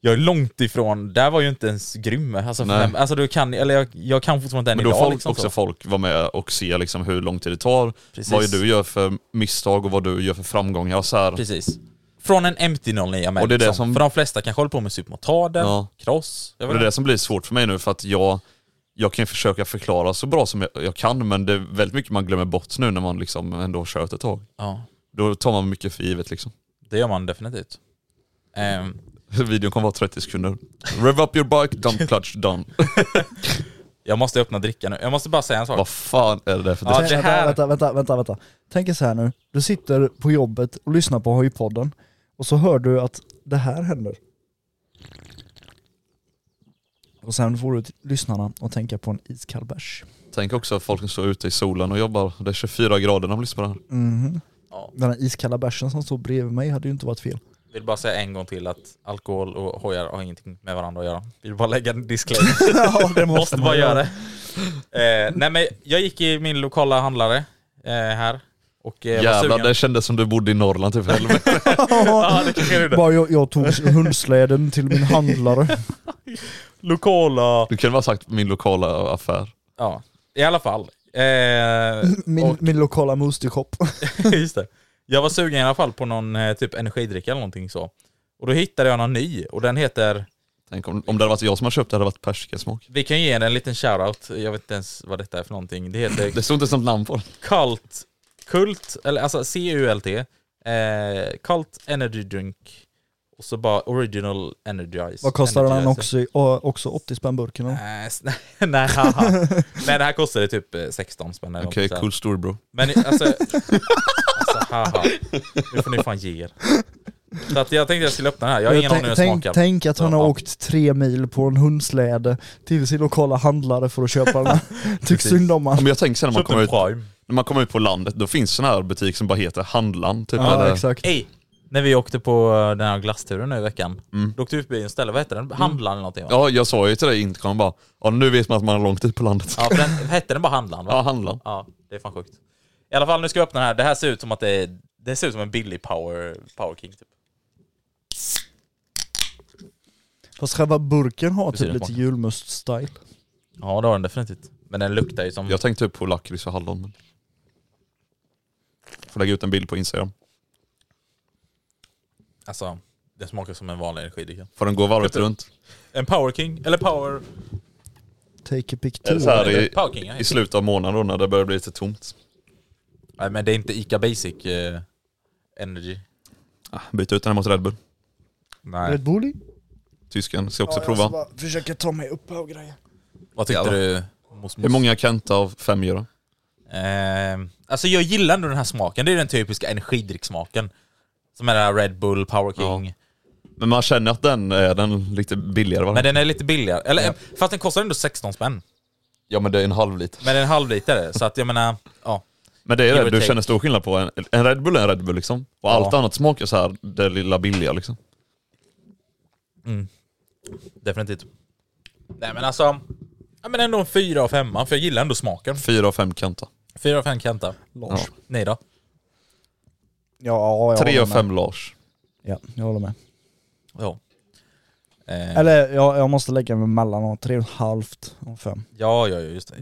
Speaker 3: jag är långt ifrån, där var ju inte ens grym. Alltså,
Speaker 1: Nej.
Speaker 3: för, alltså du kan, eller jag, jag kan fortfarande den
Speaker 1: Men då
Speaker 3: idag
Speaker 1: får
Speaker 3: liksom
Speaker 1: också
Speaker 3: så.
Speaker 1: folk vara med och se liksom hur lång tid det tar,
Speaker 3: Precis.
Speaker 1: vad du gör för misstag och vad du gör för framgångar. Så här.
Speaker 3: Precis. Från en MT-09 med
Speaker 1: Och det är det
Speaker 3: liksom.
Speaker 1: som-
Speaker 3: För de flesta kanske håller på med supermotarder,
Speaker 1: Ja.
Speaker 3: cross. Jag
Speaker 1: Och det
Speaker 3: vet
Speaker 1: är
Speaker 3: inte.
Speaker 1: det som blir svårt för mig nu för att jag, jag kan ju försöka förklara så bra som jag, jag kan men det är väldigt mycket man glömmer bort nu när man liksom ändå har kört ett tag.
Speaker 3: Ja,
Speaker 1: Då tar man mycket för givet liksom. (laughs)
Speaker 3: det gör man definitivt. Ehm,
Speaker 1: Videon kommer vara 30 sekunder. Rev up your bike, dump clutch,
Speaker 3: (laughs)
Speaker 1: done.
Speaker 3: jag måste öppna drickan nu. Jag måste bara säga en sak.
Speaker 1: Vad fan är det där för
Speaker 3: Ja,
Speaker 1: ja,
Speaker 3: det här-
Speaker 2: vänta, vänta, vänta, vänta. Tänk er så här nu, du sitter på jobbet och lyssnar på Höjpodden och så hör du att det här händer. Och sen får du t- lyssnarna att tänka på en iskall bärs.
Speaker 1: Tänk också att folk som står ute i solen och jobbar. Det är 24 grader när de lyssnar på det här.
Speaker 2: Mhm.
Speaker 3: Ja.
Speaker 2: Den här iskalla bärsen som stod bredvid mig hade ju inte varit fel.
Speaker 3: vill bara säga en gång till att alkohol och hojar har ingenting med varandra att göra. Vill bara lägga en disclaimer.
Speaker 1: (laughs)
Speaker 2: ja, det
Speaker 3: Måste bara
Speaker 2: (laughs)
Speaker 3: göra det. Eh, nej men jag gick i min lokala handlare eh, här. Och eh, var
Speaker 1: Jävlar,
Speaker 3: sugen.
Speaker 1: det kändes som du bodde i Norrland
Speaker 3: (laughs)
Speaker 1: typ. Helvete.
Speaker 3: Ja, det kanske jag gjorde.
Speaker 2: Bara jag, jag tog hundsläden till min
Speaker 3: (laughs)
Speaker 2: handlare.
Speaker 3: Lokala...
Speaker 1: Du kunde bara sagt min lokala affär.
Speaker 3: Ja, i alla fall. Eh,
Speaker 2: Min,
Speaker 3: och, (laughs)
Speaker 2: min lokala mustershop.
Speaker 3: just det. Jag var sugen i alla fall på någon eh, typ energidricka eller någonting så. Och då hittade jag någon ny och den heter,
Speaker 1: Tänk om, om det hade varit jag som hade köpt det hade det varit persikasmak.
Speaker 3: vi kan ju ge den en liten shoutout, jag vet inte ens vad detta är för någonting. Det heter
Speaker 1: Det stod inte sånt namn på den.
Speaker 3: Cult, Kult, eller alltså C-U-L-T, eh, Cult Energy Drink och så bara Original Energize.
Speaker 2: Vad kostar den
Speaker 3: Energizer.
Speaker 2: också? i- å- Också 80 spänn burken? eller?
Speaker 3: Nej, s- (laughs) nej, haha. nej, det här kostade typ eh, 16 spänn eller
Speaker 1: Okej,
Speaker 3: något sånt.
Speaker 1: cool story bro.
Speaker 3: Men alltså, alltså haha. Nu får ni fan ge er. Så att jag tänkte jag skulle öppna den här, jag har ingen
Speaker 2: tänk-
Speaker 3: aning hur den
Speaker 2: tänk,
Speaker 3: smakar.
Speaker 2: tänk att han
Speaker 3: Ja.
Speaker 2: har åkt tre mil på en hundsläde till sin lokala handlare för att köpa
Speaker 3: (laughs)
Speaker 2: den. här. Tyck
Speaker 3: Precis.
Speaker 2: synd om
Speaker 1: Ja,
Speaker 2: han.
Speaker 1: men jag tänker sen när man,
Speaker 3: Köpte
Speaker 1: kommer
Speaker 3: en
Speaker 1: ut,
Speaker 3: Prime.
Speaker 1: när man kommer ut på landet, då finns sån här butik som bara heter Handland. Typ,
Speaker 2: Ja,
Speaker 1: eller-
Speaker 2: exakt.
Speaker 3: Ey, när vi åkte på eh, den här glassturen nu i veckan, då åkte vi förbi en ställe, vad heter den? Handlaren eller någonting va?
Speaker 1: ja, jag sa ju till dig i intercom bara, ja nu vet man att man har långt ut på (laughs) landet.
Speaker 3: Ja, för den, hette den bara Handlaren va?
Speaker 1: Ja, Handland.
Speaker 3: Ja, det är fan sjukt. I alla fall, nu ska jag öppna den här. Det här ser ut som att det är, det ser ut som en billig power, power king typ.
Speaker 2: Fast själva burken har
Speaker 3: Precis,
Speaker 2: typ lite
Speaker 3: smaken.
Speaker 2: julmust-style.
Speaker 3: Ja, det har den definitivt. Men den luktar ju som...
Speaker 1: Jag tänkte typ på lakrits och hallon. Men... Får lägga ut en bild på Instagram.
Speaker 3: Alltså, den smakar som en vanlig energidricka.
Speaker 1: Får den gå varvet runt.
Speaker 3: En power king, eller power...
Speaker 2: Take a
Speaker 1: Eller så här
Speaker 2: picture.
Speaker 1: i,
Speaker 3: Power king, ja.
Speaker 1: i slutet av månaden då, när det börjar bli lite tomt.
Speaker 3: Nej, men det är inte Ica Basic eh, Energy.
Speaker 1: Ah, Byta ut den här mot Red Bull.
Speaker 3: Nej.
Speaker 2: Red Bulli?
Speaker 1: Tysken ska också prova.
Speaker 2: försöka Alltså, ta mig upp här och grejer.
Speaker 3: Vad tyckte
Speaker 1: Jävlar.
Speaker 3: du? Mos, mos?
Speaker 1: Hur många Kenta av fem gör då?
Speaker 3: Ehm, alltså jag gillar ändå den här smaken. Det är den typiska energidricksmaken. Som är den här Red Bull, Power King.
Speaker 1: Men man känner att den är den lite billigare va?
Speaker 3: Men den är lite billigare. Eller, Fast den kostar ändå 16 spänn.
Speaker 1: Ja men det är en halv liter.
Speaker 3: Men det är en (laughs) halvlitare, så att jag menar, ja.
Speaker 1: Men det är
Speaker 3: Give
Speaker 1: det,
Speaker 3: or
Speaker 1: du
Speaker 3: take.
Speaker 1: känner stor skillnad på en, en Red Bull är en Red Bull liksom. Och allt
Speaker 3: Ja.
Speaker 1: annat smakar så här, det lilla billiga liksom.
Speaker 3: Definitivt. Nej men alltså, ja, men ändå en fyra av femma, för jag gillar ändå smaken.
Speaker 1: Fyra av fem Kenta.
Speaker 3: Fyra av fem Kenta.
Speaker 2: Lars.
Speaker 1: Ja.
Speaker 3: Nej då.
Speaker 2: Ja, jag
Speaker 1: Tre av
Speaker 2: håller med.
Speaker 1: fem Lars. (laughs)
Speaker 2: Ja, jag håller med.
Speaker 3: Ja. Eh,
Speaker 2: Eller jag, jag måste lägga mig mellan och tre och ett halvt och fem.
Speaker 3: ja, ja, ja, just det.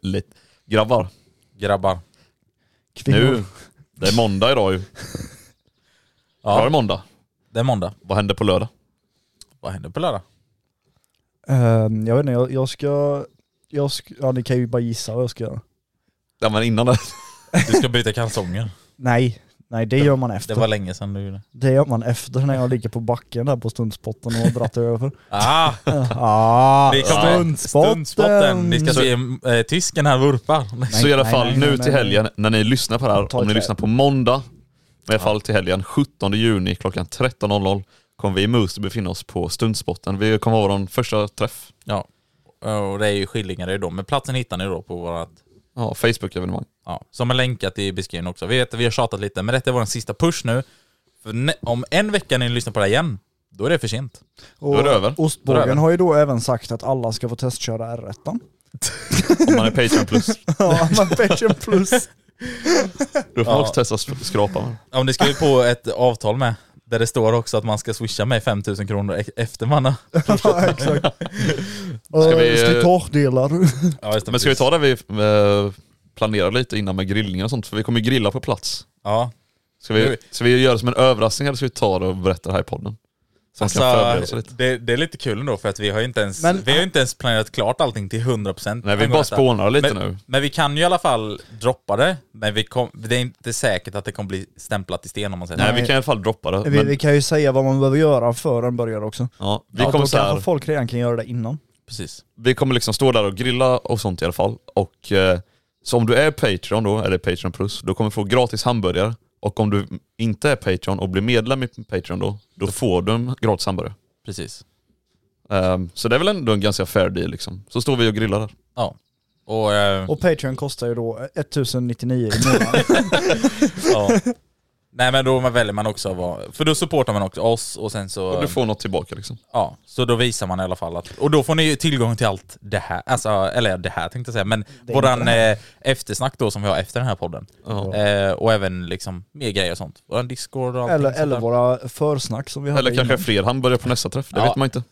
Speaker 1: Lite. Grabbar,
Speaker 3: Grabbar.
Speaker 2: Kvinnor.
Speaker 1: nu. Det är måndag idag
Speaker 2: (laughs)
Speaker 1: ju. Ja. Var det
Speaker 3: Ja,
Speaker 1: måndag?
Speaker 3: det är måndag.
Speaker 1: Vad händer på lördag?
Speaker 3: Vad händer på lördag?
Speaker 2: Ehm, jag vet inte, jag, jag ska... Jag ska, ja ni kan ju bara gissa vad jag ska göra.
Speaker 1: Ja men innan det.
Speaker 3: Du ska byta kalsonger.
Speaker 2: Nej, nej det gör man efter.
Speaker 3: Det var länge sedan du gjorde.
Speaker 2: Det gör man efter när jag ligger på backen där på stundspotten och har
Speaker 1: (laughs)
Speaker 2: dratt över.
Speaker 3: Ah,
Speaker 2: Ah,
Speaker 3: vi kommer- Stundspotten. Ni ska se eh, tysken här vurpar.
Speaker 2: Nej,
Speaker 1: så i alla
Speaker 2: nej,
Speaker 1: fall
Speaker 2: nej,
Speaker 1: nu
Speaker 2: nej,
Speaker 1: till
Speaker 2: nej.
Speaker 1: helgen, när ni lyssnar på det här,
Speaker 2: Ta
Speaker 1: om ni
Speaker 2: ett
Speaker 1: lyssnar på måndag, men i alla fall till helgen, 17 juni klockan 13.00 kommer vi i Moose befinna oss på Stundspotten. Vi kommer ha vår första träff.
Speaker 3: Ja. Och det är ju Skillingarö då, men platsen hittar ni då på vårat
Speaker 1: Ja, Facebook-evenemang.
Speaker 3: Ja, som är länkat i beskrivningen också. Vi vet att vi har tjatat lite, men detta är vår sista push nu. För nä- om en vecka när ni lyssnar på det här igen, då är det för sent.
Speaker 1: Då är det över. Då är
Speaker 2: Och
Speaker 1: det
Speaker 2: Ostbågen
Speaker 1: över.
Speaker 2: har ju då även sagt att alla ska få testköra R1.
Speaker 1: Om man är Patreon plus.
Speaker 2: (laughs) Ja, men Passion plus.
Speaker 1: (laughs) Då får
Speaker 3: Ja.
Speaker 1: man också testa att skrapa.
Speaker 3: Om det skriver på ett avtal med, Där det står också att man ska swisha mig 5000 kronor e- efter
Speaker 1: (laughs)
Speaker 3: man har...
Speaker 2: ja, exakt.
Speaker 1: Ska
Speaker 2: Ska
Speaker 1: vi, eh,
Speaker 2: vi...
Speaker 1: (laughs)
Speaker 2: Slitagedelar.
Speaker 3: Ja, just det,
Speaker 1: Men ska vi
Speaker 3: precis.
Speaker 1: ta det vi eh, planerar lite innan med grillning och sånt? För vi kommer ju grilla på plats.
Speaker 3: Ja.
Speaker 1: Ska vi, ska vi göra det som en överraskning eller ska vi ta det och berätta det här i podden? Så man
Speaker 3: Alltså,
Speaker 1: kan förbereda sig lite.
Speaker 3: det, det är lite kul ändå för att vi har ju inte ens,
Speaker 2: Men-
Speaker 3: vi har ju inte ens planerat klart allting till 100%
Speaker 1: Nej vi
Speaker 3: angående
Speaker 1: bara
Speaker 3: detta.
Speaker 1: spånar lite
Speaker 3: men,
Speaker 1: nu.
Speaker 3: Men vi kan ju i alla fall droppa det, men vi kom, det är inte säkert att det kommer bli stämplat i sten om man säger
Speaker 1: Nej vi
Speaker 3: så.
Speaker 1: kan i alla fall droppa det.
Speaker 2: vi,
Speaker 1: Men,
Speaker 2: vi kan ju säga vad man behöver göra för en burgare också.
Speaker 1: ja, vi
Speaker 2: ja,
Speaker 1: kommer
Speaker 2: då
Speaker 1: så här,
Speaker 2: kanske folk redan kan göra det innan.
Speaker 3: Precis.
Speaker 1: vi kommer liksom stå där och grilla och sånt i alla fall. Och eh, så om du är Patreon då, eller Patreon plus, då kommer du få gratis hamburgare. Och om du inte är Patreon och blir medlem i Patreon då, då får du en gratis hamburgare.
Speaker 3: Precis.
Speaker 1: Ehm, så det är väl ändå en ganska fair deal liksom. Så står vi och grillar där.
Speaker 3: Ja. Och, eh,
Speaker 2: Och Patreon kostar ju då 1099
Speaker 1: (laughs)
Speaker 2: i månaden.
Speaker 3: ja. Nej men då väljer man också vad, för då supportar man också oss och sen så...
Speaker 1: Och du får något tillbaka liksom.
Speaker 3: Ja, så då visar man i alla fall att... Och då får ni ju tillgång till allt det här, alltså, eller det här tänkte jag säga, men våran eh, eftersnack då som vi har efter den här podden. Eh, och även liksom mer grejer och sånt. Våran Discord och allting
Speaker 2: eller,
Speaker 3: sånt
Speaker 2: eller
Speaker 3: där.
Speaker 2: våra försnack som vi hade
Speaker 1: Eller kanske
Speaker 2: innan.
Speaker 1: fler hamburgare på nästa träff, det
Speaker 3: Ja.
Speaker 1: vet man inte.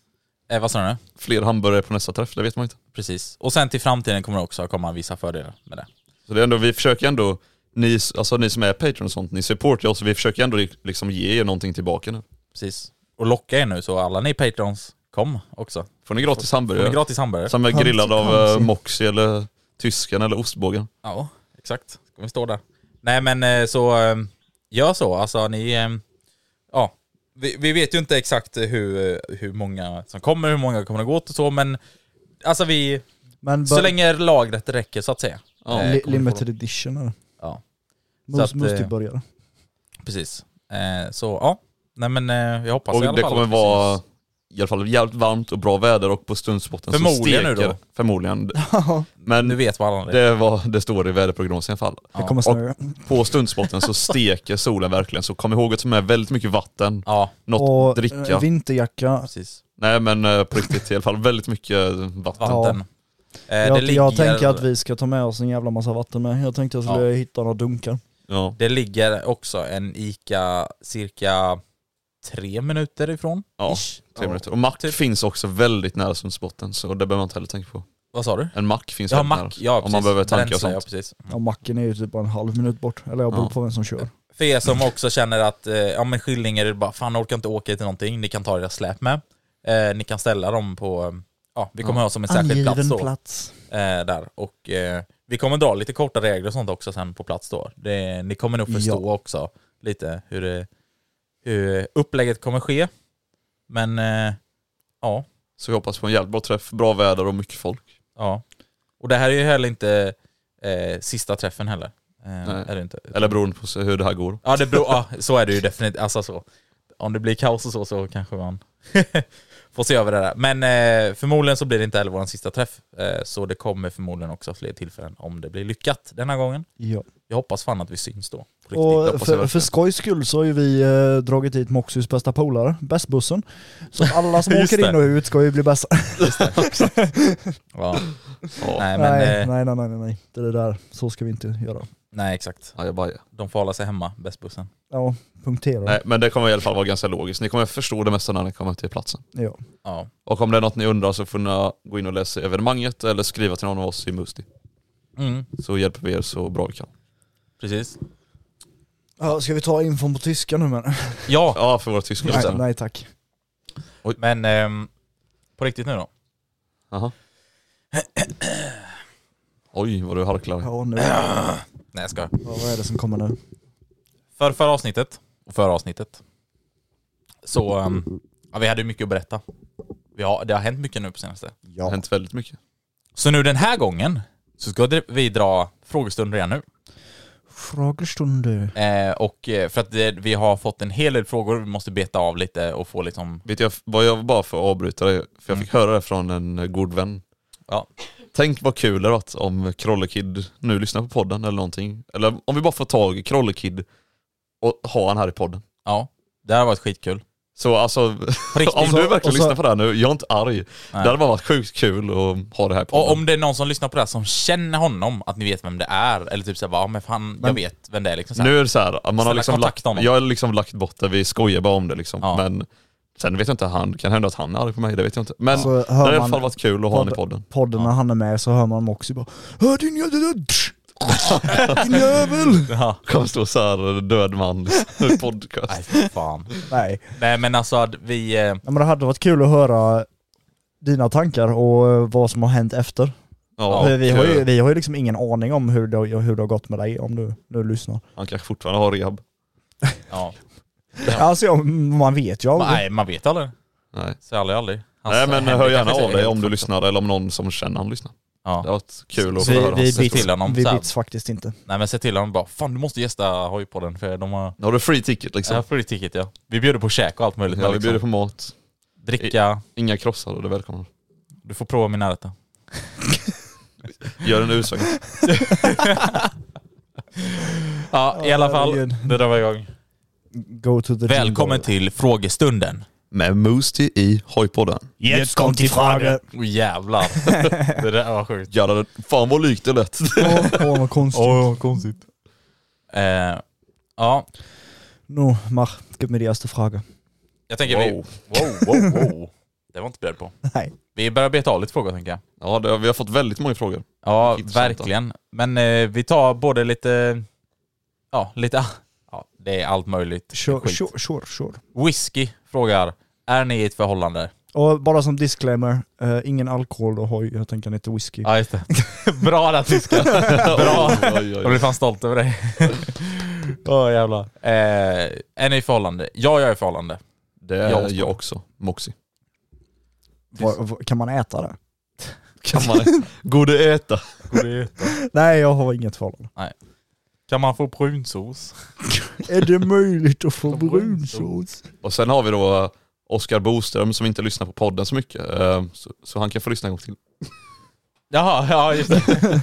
Speaker 3: Eh, vad sa du nu?
Speaker 1: Fler hamburgare på nästa träff, det vet man inte.
Speaker 3: Precis. Och sen till framtiden kommer det också komma vissa fördelar med det.
Speaker 1: Så det är ändå, vi försöker ändå, ni, alltså ni som är Patreon och sånt, ni supportar oss, vi försöker ändå liksom ge er någonting tillbaka nu.
Speaker 3: Precis. Och locka er nu så alla ni Patrons, kom också.
Speaker 1: Får ni gratis
Speaker 3: Får ni
Speaker 1: hamburgare?
Speaker 3: gratis hamburgare.
Speaker 1: Som är
Speaker 2: Hamsi,
Speaker 1: grillad av
Speaker 2: hamsi.
Speaker 1: eh, Moxie eller tysken eller ostbågen.
Speaker 3: Ja, exakt. Ska vi stå där. Nej men eh, så, eh, gör så. Alltså ni, eh, ja. Vi, vi vet ju inte exakt hur, eh, hur många som kommer, hur många kommer att gå åt och så men Alltså vi,
Speaker 2: Men
Speaker 3: så
Speaker 2: bör-
Speaker 3: länge lagret räcker så att säga.
Speaker 1: Ja.
Speaker 3: Eh,
Speaker 2: li-
Speaker 3: kommer vi få
Speaker 2: limited
Speaker 3: då.
Speaker 2: edition eller?
Speaker 3: Ja, att,
Speaker 2: Mus-
Speaker 3: eh,
Speaker 2: Mustigburgare.
Speaker 3: precis. Eh, Så ja, nej men eh, jag hoppas i
Speaker 1: Och
Speaker 3: alla
Speaker 1: det
Speaker 3: fall
Speaker 1: kommer
Speaker 3: att vi
Speaker 1: vara
Speaker 3: syns.
Speaker 1: i alla fall jävligt varmt och bra väder och på stundspotten
Speaker 3: Förmodligen nu
Speaker 1: så steker.
Speaker 3: då. (laughs)
Speaker 1: Förmodligen. Men
Speaker 3: Nu vet varandra det.
Speaker 1: det, var, det står i väderprognosen i alla fall.
Speaker 2: Det kommer snurra.
Speaker 1: På stundspotten så steker solen verkligen, så kom ihåg att ta med väldigt mycket vatten,
Speaker 3: Ja,
Speaker 1: något
Speaker 2: Och
Speaker 1: dricka.
Speaker 2: eh, vinterjacka.
Speaker 3: precis.
Speaker 1: Nej men eh, på riktigt i alla fall, väldigt mycket vatten.
Speaker 3: Vatten. Eh,
Speaker 2: Jag,
Speaker 3: det ligger,
Speaker 2: jag tänker att vi ska ta med oss en jävla massa vatten med. Jag tänkte jag skulle
Speaker 3: Ja. Mm.
Speaker 2: hitta några dunkar.
Speaker 1: Ja.
Speaker 3: Det ligger också en ICA cirka tre minuter ifrån.
Speaker 1: Ja,
Speaker 3: Ish.
Speaker 1: tre minuter. Och mack
Speaker 3: Typ.
Speaker 1: finns också väldigt nära sundsbotten så det behöver man inte heller tänka på.
Speaker 3: Vad sa du?
Speaker 1: En mack finns
Speaker 3: Ja,
Speaker 1: väldigt nära.
Speaker 3: mack. Ja,
Speaker 1: om
Speaker 3: precis.
Speaker 1: man behöver tanka och
Speaker 3: Bränsle,
Speaker 1: sånt.
Speaker 3: Ja, precis.
Speaker 2: Ja, macken är ju typ bara en halv minut bort. Eller jag beror
Speaker 1: Ja.
Speaker 2: på vem som kör.
Speaker 3: För er som också känner att eh, ja, men skillingar är bara, fan jag orkar inte åka till någonting, ni kan ta era släp med. Eh, ni kan ställa dem på, eh, ja vi kommer ha som en särskild plats då.
Speaker 2: plats.
Speaker 3: Eh, där. Och eh, vi kommer dra lite korta regler och sånt också sen på plats då. Det, ni kommer nog förstå också lite hur, det, hur upplägget kommer ske. Men eh, ja,
Speaker 1: Så vi hoppas på en jävligt bra träff, bra väder och mycket folk.
Speaker 3: Ja. Och det här är ju heller inte eh, sista träffen heller. Eh,
Speaker 1: Nej.
Speaker 3: är det inte.
Speaker 1: Eller beroende på hur det här går.
Speaker 3: Ja, det beror, ja, så är det ju definitivt. Alltså, så. Om det blir kaos och så, så kanske man (laughs) får se över det där. Men eh, förmodligen så blir det inte heller vår sista träff. Eh, så det kommer förmodligen också fler tillfällen om det blir lyckat den här gången.
Speaker 2: Ja.
Speaker 3: Jag hoppas fan att vi syns då. På riktigt.
Speaker 2: Och
Speaker 1: hoppas jag
Speaker 2: för, för
Speaker 1: verkligen.
Speaker 2: skojs skull så har ju vi eh, dragit dit Moxys bästa polare, bästbussen.
Speaker 3: (laughs)
Speaker 2: Så alla som
Speaker 3: Just
Speaker 2: åker in
Speaker 3: det.
Speaker 2: och ut ska ju bli bäst.
Speaker 3: Ja.
Speaker 1: Ja.
Speaker 3: Nej, men,
Speaker 2: Nej,
Speaker 3: eh,
Speaker 2: nej, nej, nej, nej, nej. Det är det där. Så ska vi inte göra.
Speaker 3: nej, exakt.
Speaker 1: Ajabaja.
Speaker 3: De får hålla sig hemma, bästbussen.
Speaker 2: Ja, punktera.
Speaker 1: Nej men det kommer i alla fall vara ganska logiskt. Ni kommer förstå det mesta när ni kommer till platsen.
Speaker 2: Ja.
Speaker 3: Ja,
Speaker 1: Och om det är något ni undrar så får ni gå in och läsa evenemanget eller skriva till någon av oss i Musti.
Speaker 3: mm,
Speaker 1: Så hjälper vi er så bra vi kan.
Speaker 3: precis.
Speaker 2: Ja, ska vi ta infon på tyska nu men?
Speaker 3: Ja,
Speaker 1: Ja för våra tyska
Speaker 2: Nej,
Speaker 1: lyssnare.
Speaker 2: nej tack.
Speaker 3: men ehm, på riktigt nu då.
Speaker 1: Jaha. Oj vad du harklar.
Speaker 2: Ja, nu.
Speaker 3: Nej, jag skojar.
Speaker 2: Ja, vad är det som kommer nu?
Speaker 3: För förra avsnittet och förra avsnittet så ehm, ja, vi hade ju mycket att berätta. Vi har, det har hänt mycket nu på senaste.
Speaker 1: Det har hänt väldigt mycket.
Speaker 3: Så nu den här gången så ska dr- vi dra frågestund redan nu.
Speaker 2: Frågestunde.
Speaker 3: Eh, och eh, för att det, vi har fått en hel del frågor, vi måste beta av lite och få liksom,
Speaker 1: Vet jag vad jag bara för att avbryta dig, för jag fick höra det från en eh, god vän.
Speaker 3: ja,
Speaker 1: Tänk vad kul det hade varit om Krollekid nu lyssnar på podden eller någonting. Eller om vi bara får tag i Krollekid och har han här i podden.
Speaker 3: ja. Det här har varit skitkul.
Speaker 1: Så alltså, (laughs)
Speaker 3: riktigt.
Speaker 1: om du verkligen
Speaker 2: Och så-
Speaker 1: lyssnar på det här nu, jag är inte arg. Det hade bara varit sjukt kul att ha det här på.
Speaker 3: Och om det är någon som lyssnar på det här som känner honom, att ni vet vem det är. Eller typ såhär, ja men fan, jag vet vem det är liksom. Så här.
Speaker 1: Nu är det så här, man har
Speaker 3: Snälla
Speaker 1: liksom
Speaker 3: kontakta
Speaker 1: lagt,
Speaker 3: honom.
Speaker 1: jag har liksom lagt bort det, vi skojar bara om det liksom.
Speaker 3: Ja.
Speaker 1: Men sen vet jag inte, han, kan hända att han är arg på mig, det vet jag inte. Men
Speaker 2: Så
Speaker 1: det
Speaker 2: hör
Speaker 1: hade i alla
Speaker 2: man-
Speaker 1: fall varit kul att ha honom i podden.
Speaker 2: podden när han är med så hör man dem också bara Hör din jävel! Din jävel!
Speaker 3: Ja.
Speaker 1: Kommer stå så här död
Speaker 3: (laughs)
Speaker 1: man i podcast.
Speaker 3: Nej, fy fan.
Speaker 2: Nej,
Speaker 3: Nej men alltså att vi... eh,
Speaker 2: Ja, men det hade varit kul att höra dina tankar och eh, vad som har hänt efter.
Speaker 1: Ja,
Speaker 2: vi, vi, har ju,
Speaker 1: kul.
Speaker 2: vi har ju liksom ingen aning om hur det, hur det har gått med dig om du nu lyssnar.
Speaker 1: Han kanske fortfarande har rehab.
Speaker 3: Ja.
Speaker 2: Alltså ja, man vet ju aldrig.
Speaker 3: Nej, man vet aldrig.
Speaker 1: Nej.
Speaker 3: Säg aldrig aldrig. Hans
Speaker 1: Nej men
Speaker 3: händer
Speaker 1: hör gärna av
Speaker 3: kanske inte är
Speaker 1: dig om
Speaker 3: helt-
Speaker 1: du lyssnar eller om någon som känner han lyssnar.
Speaker 3: Ja.
Speaker 1: Det har varit kul att få
Speaker 2: vi
Speaker 1: höra
Speaker 2: vi,
Speaker 1: hans historia.
Speaker 3: blir-
Speaker 2: bits,
Speaker 3: till honom
Speaker 2: vi
Speaker 3: sen.
Speaker 2: bits faktiskt inte.
Speaker 3: Nej men säg till honom bara, fan du måste gästa hojpodden för de har...
Speaker 1: Har du free ticket
Speaker 3: Ja,
Speaker 1: liksom?
Speaker 3: free ticket ja. Vi bjuder på käk och allt möjligt.
Speaker 1: Ja,
Speaker 3: men
Speaker 1: vi
Speaker 3: liksom,
Speaker 1: bjuder på mat.
Speaker 3: Dricka,
Speaker 1: Inga krossar och det välkomnar.
Speaker 3: du får prova min närhet.
Speaker 1: Gör en U-sväng.
Speaker 3: (laughs) Ja, i alla fall.
Speaker 2: herregud.
Speaker 3: Det drar vi igång.
Speaker 2: Go to the
Speaker 3: Välkommen till frågestunden.
Speaker 1: Med Moosty i hojpodden.
Speaker 2: Jets kom till fråga.
Speaker 3: Åh jävlar. det där
Speaker 1: (laughs)
Speaker 3: var sjukt.
Speaker 1: Jävlar, det- fan vad likt det lät.
Speaker 2: (laughs) Åh, åh, vad konstigt.
Speaker 3: konstigt. Eh, ja,
Speaker 2: Nu, mach, gib mir die erste Frage.
Speaker 3: jag tänker vi...
Speaker 1: Wow.
Speaker 3: Wow, wow, wow. (laughs) Det var inte beredd på.
Speaker 2: Nej.
Speaker 3: Vi börjar beta av lite frågor tänker jag.
Speaker 1: Ja, det, vi har fått väldigt många
Speaker 2: (laughs)
Speaker 1: frågor.
Speaker 3: Ja,
Speaker 1: Intressanta.
Speaker 3: verkligen. Men eh, vi tar både lite... Ja, lite... (laughs) Ja, det är allt möjligt.
Speaker 2: Sure,
Speaker 3: Skit.
Speaker 2: sure, sure, sure.
Speaker 3: Whisky frågar, är ni i ett förhållande?
Speaker 2: Och bara som disclaimer, eh, ingen alkohol och hoj, jag tänker inte whisky.
Speaker 3: Ja, just det. (laughs) Bra där tysken. (laughs) Bra.
Speaker 1: Oj, oj, oj.
Speaker 3: Jag blir fan stolt över (laughs) dig. Åh jävlar. Eh, är ni i förhållande? Ja, jag är i förhållande.
Speaker 1: Det är
Speaker 3: Jag-
Speaker 1: jag, också. Moxie.
Speaker 2: Var, var, kan man äta det? (laughs)
Speaker 1: Kan man Gode äta.
Speaker 2: Nej, jag har inget förhållande.
Speaker 3: Kan man få brunsås?
Speaker 2: Är det möjligt att få
Speaker 3: brunsås?
Speaker 2: brunsås?
Speaker 1: Och sen har vi då eh, Oskar Boström som inte lyssnar på podden så mycket. eh, Så, så han kan få lyssna en gång till.
Speaker 3: Jaha, ja just (laughs) det.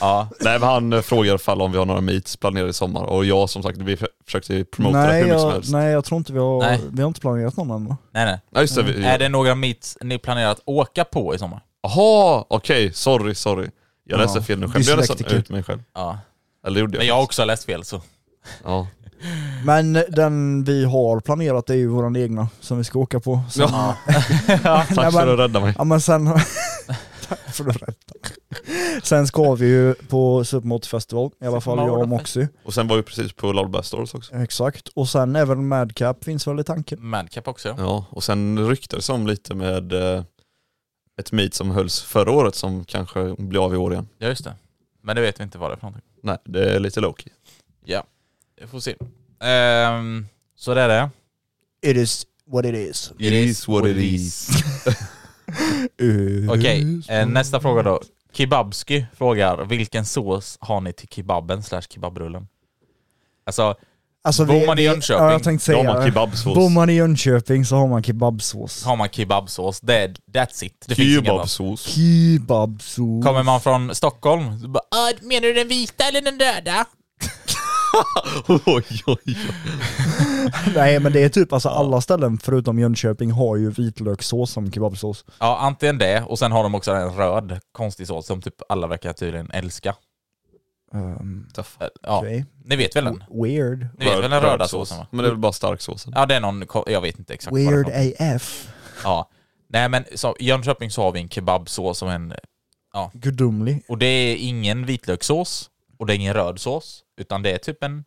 Speaker 3: ja,
Speaker 1: Nej men han eh, frågar ifall om vi har några meets planerade i sommar. Och jag som sagt, vi f- försökte promota det hur
Speaker 2: Nej
Speaker 1: mycket som
Speaker 2: jag,
Speaker 1: helst.
Speaker 2: nej, jag tror inte vi har,
Speaker 3: Nej.
Speaker 2: vi har inte planerat någon än va?
Speaker 3: nej nej.
Speaker 1: Ja just det. vi-
Speaker 3: Är det några meets ni planerar att åka på i sommar?
Speaker 1: Jaha, okej. sorry, sorry. Jag läste
Speaker 2: Ja,
Speaker 1: fel nu. Skämde jag nästan
Speaker 2: dyslektiker.
Speaker 1: ut mig själv?
Speaker 3: Ja.
Speaker 1: Eller gjorde jag?
Speaker 3: Men jag har också läst fel så.
Speaker 2: (laughs)
Speaker 1: Ja.
Speaker 2: Men den vi har planerat är ju våran egna som vi ska åka på. Sen,
Speaker 1: Ja. Tack
Speaker 2: Nej,
Speaker 1: för
Speaker 2: men-
Speaker 1: att du räddade mig.
Speaker 2: Ja men sen... (laughs) Tack för att du rättar. Sen ska vi ju på Supermotorfestival, i alla fall jag och Moxie.
Speaker 1: Och sen var vi precis på Lullaby Stores också.
Speaker 2: Exakt. Och sen även Madcap finns väl i tanken.
Speaker 3: Madcap också ja.
Speaker 1: Ja, och sen ryktades det om lite med eh, ett meet som hölls förra året som kanske blir av i år igen.
Speaker 3: Ja just det. Men det vet vi inte vad det är för någonting.
Speaker 1: Nej, det är lite lowkey.
Speaker 3: Ja, vi får se. Ehm, så det är det.
Speaker 2: It is what it is.
Speaker 1: It is what it is. (laughs)
Speaker 3: Okej, eh, nästa fråga då. Kebabsky frågar, vilken sås har ni till kebaben slash kebabrullen? Alltså,
Speaker 2: Alltså,
Speaker 3: Bor man i Jönköping,
Speaker 2: Ja, jag tänkte
Speaker 1: Då har
Speaker 2: säga
Speaker 1: man
Speaker 2: det.
Speaker 1: kebabsås.
Speaker 2: Bor man i Jönköping så har man kebabsås.
Speaker 3: har man kebabsås, det är, that's it. Det finns inga
Speaker 1: Kebabsås.
Speaker 2: Kebabsås.
Speaker 3: Kommer man från Stockholm, så bara, "Ah, menar du den vita eller den röda?
Speaker 1: (laughs) Oj, oj, oj.
Speaker 2: (laughs) Nej men det är typ alltså alla ställen förutom Jönköping har ju vitlökssås som kebabsås.
Speaker 3: Ja, antingen det, och sen har de också en röd konstig sås som typ alla verkar tydligen älska.
Speaker 2: Um,
Speaker 3: Eh, Ja,
Speaker 2: Okej.
Speaker 3: ni vet väl den?
Speaker 2: Weird.
Speaker 3: Ni vet väl den röda såsen va?
Speaker 1: Men det är väl bara starksåsen.
Speaker 3: Ja, det är någon, ko- jag vet inte exakt vad det är för
Speaker 2: Weird
Speaker 3: något.
Speaker 2: AF.
Speaker 3: Ja. Nej men så, i Jönköping så har vi en kebabsås som en
Speaker 2: Gudomlig.
Speaker 3: Och det är ingen vitlökssås och det är ingen röd sås, utan det är typ en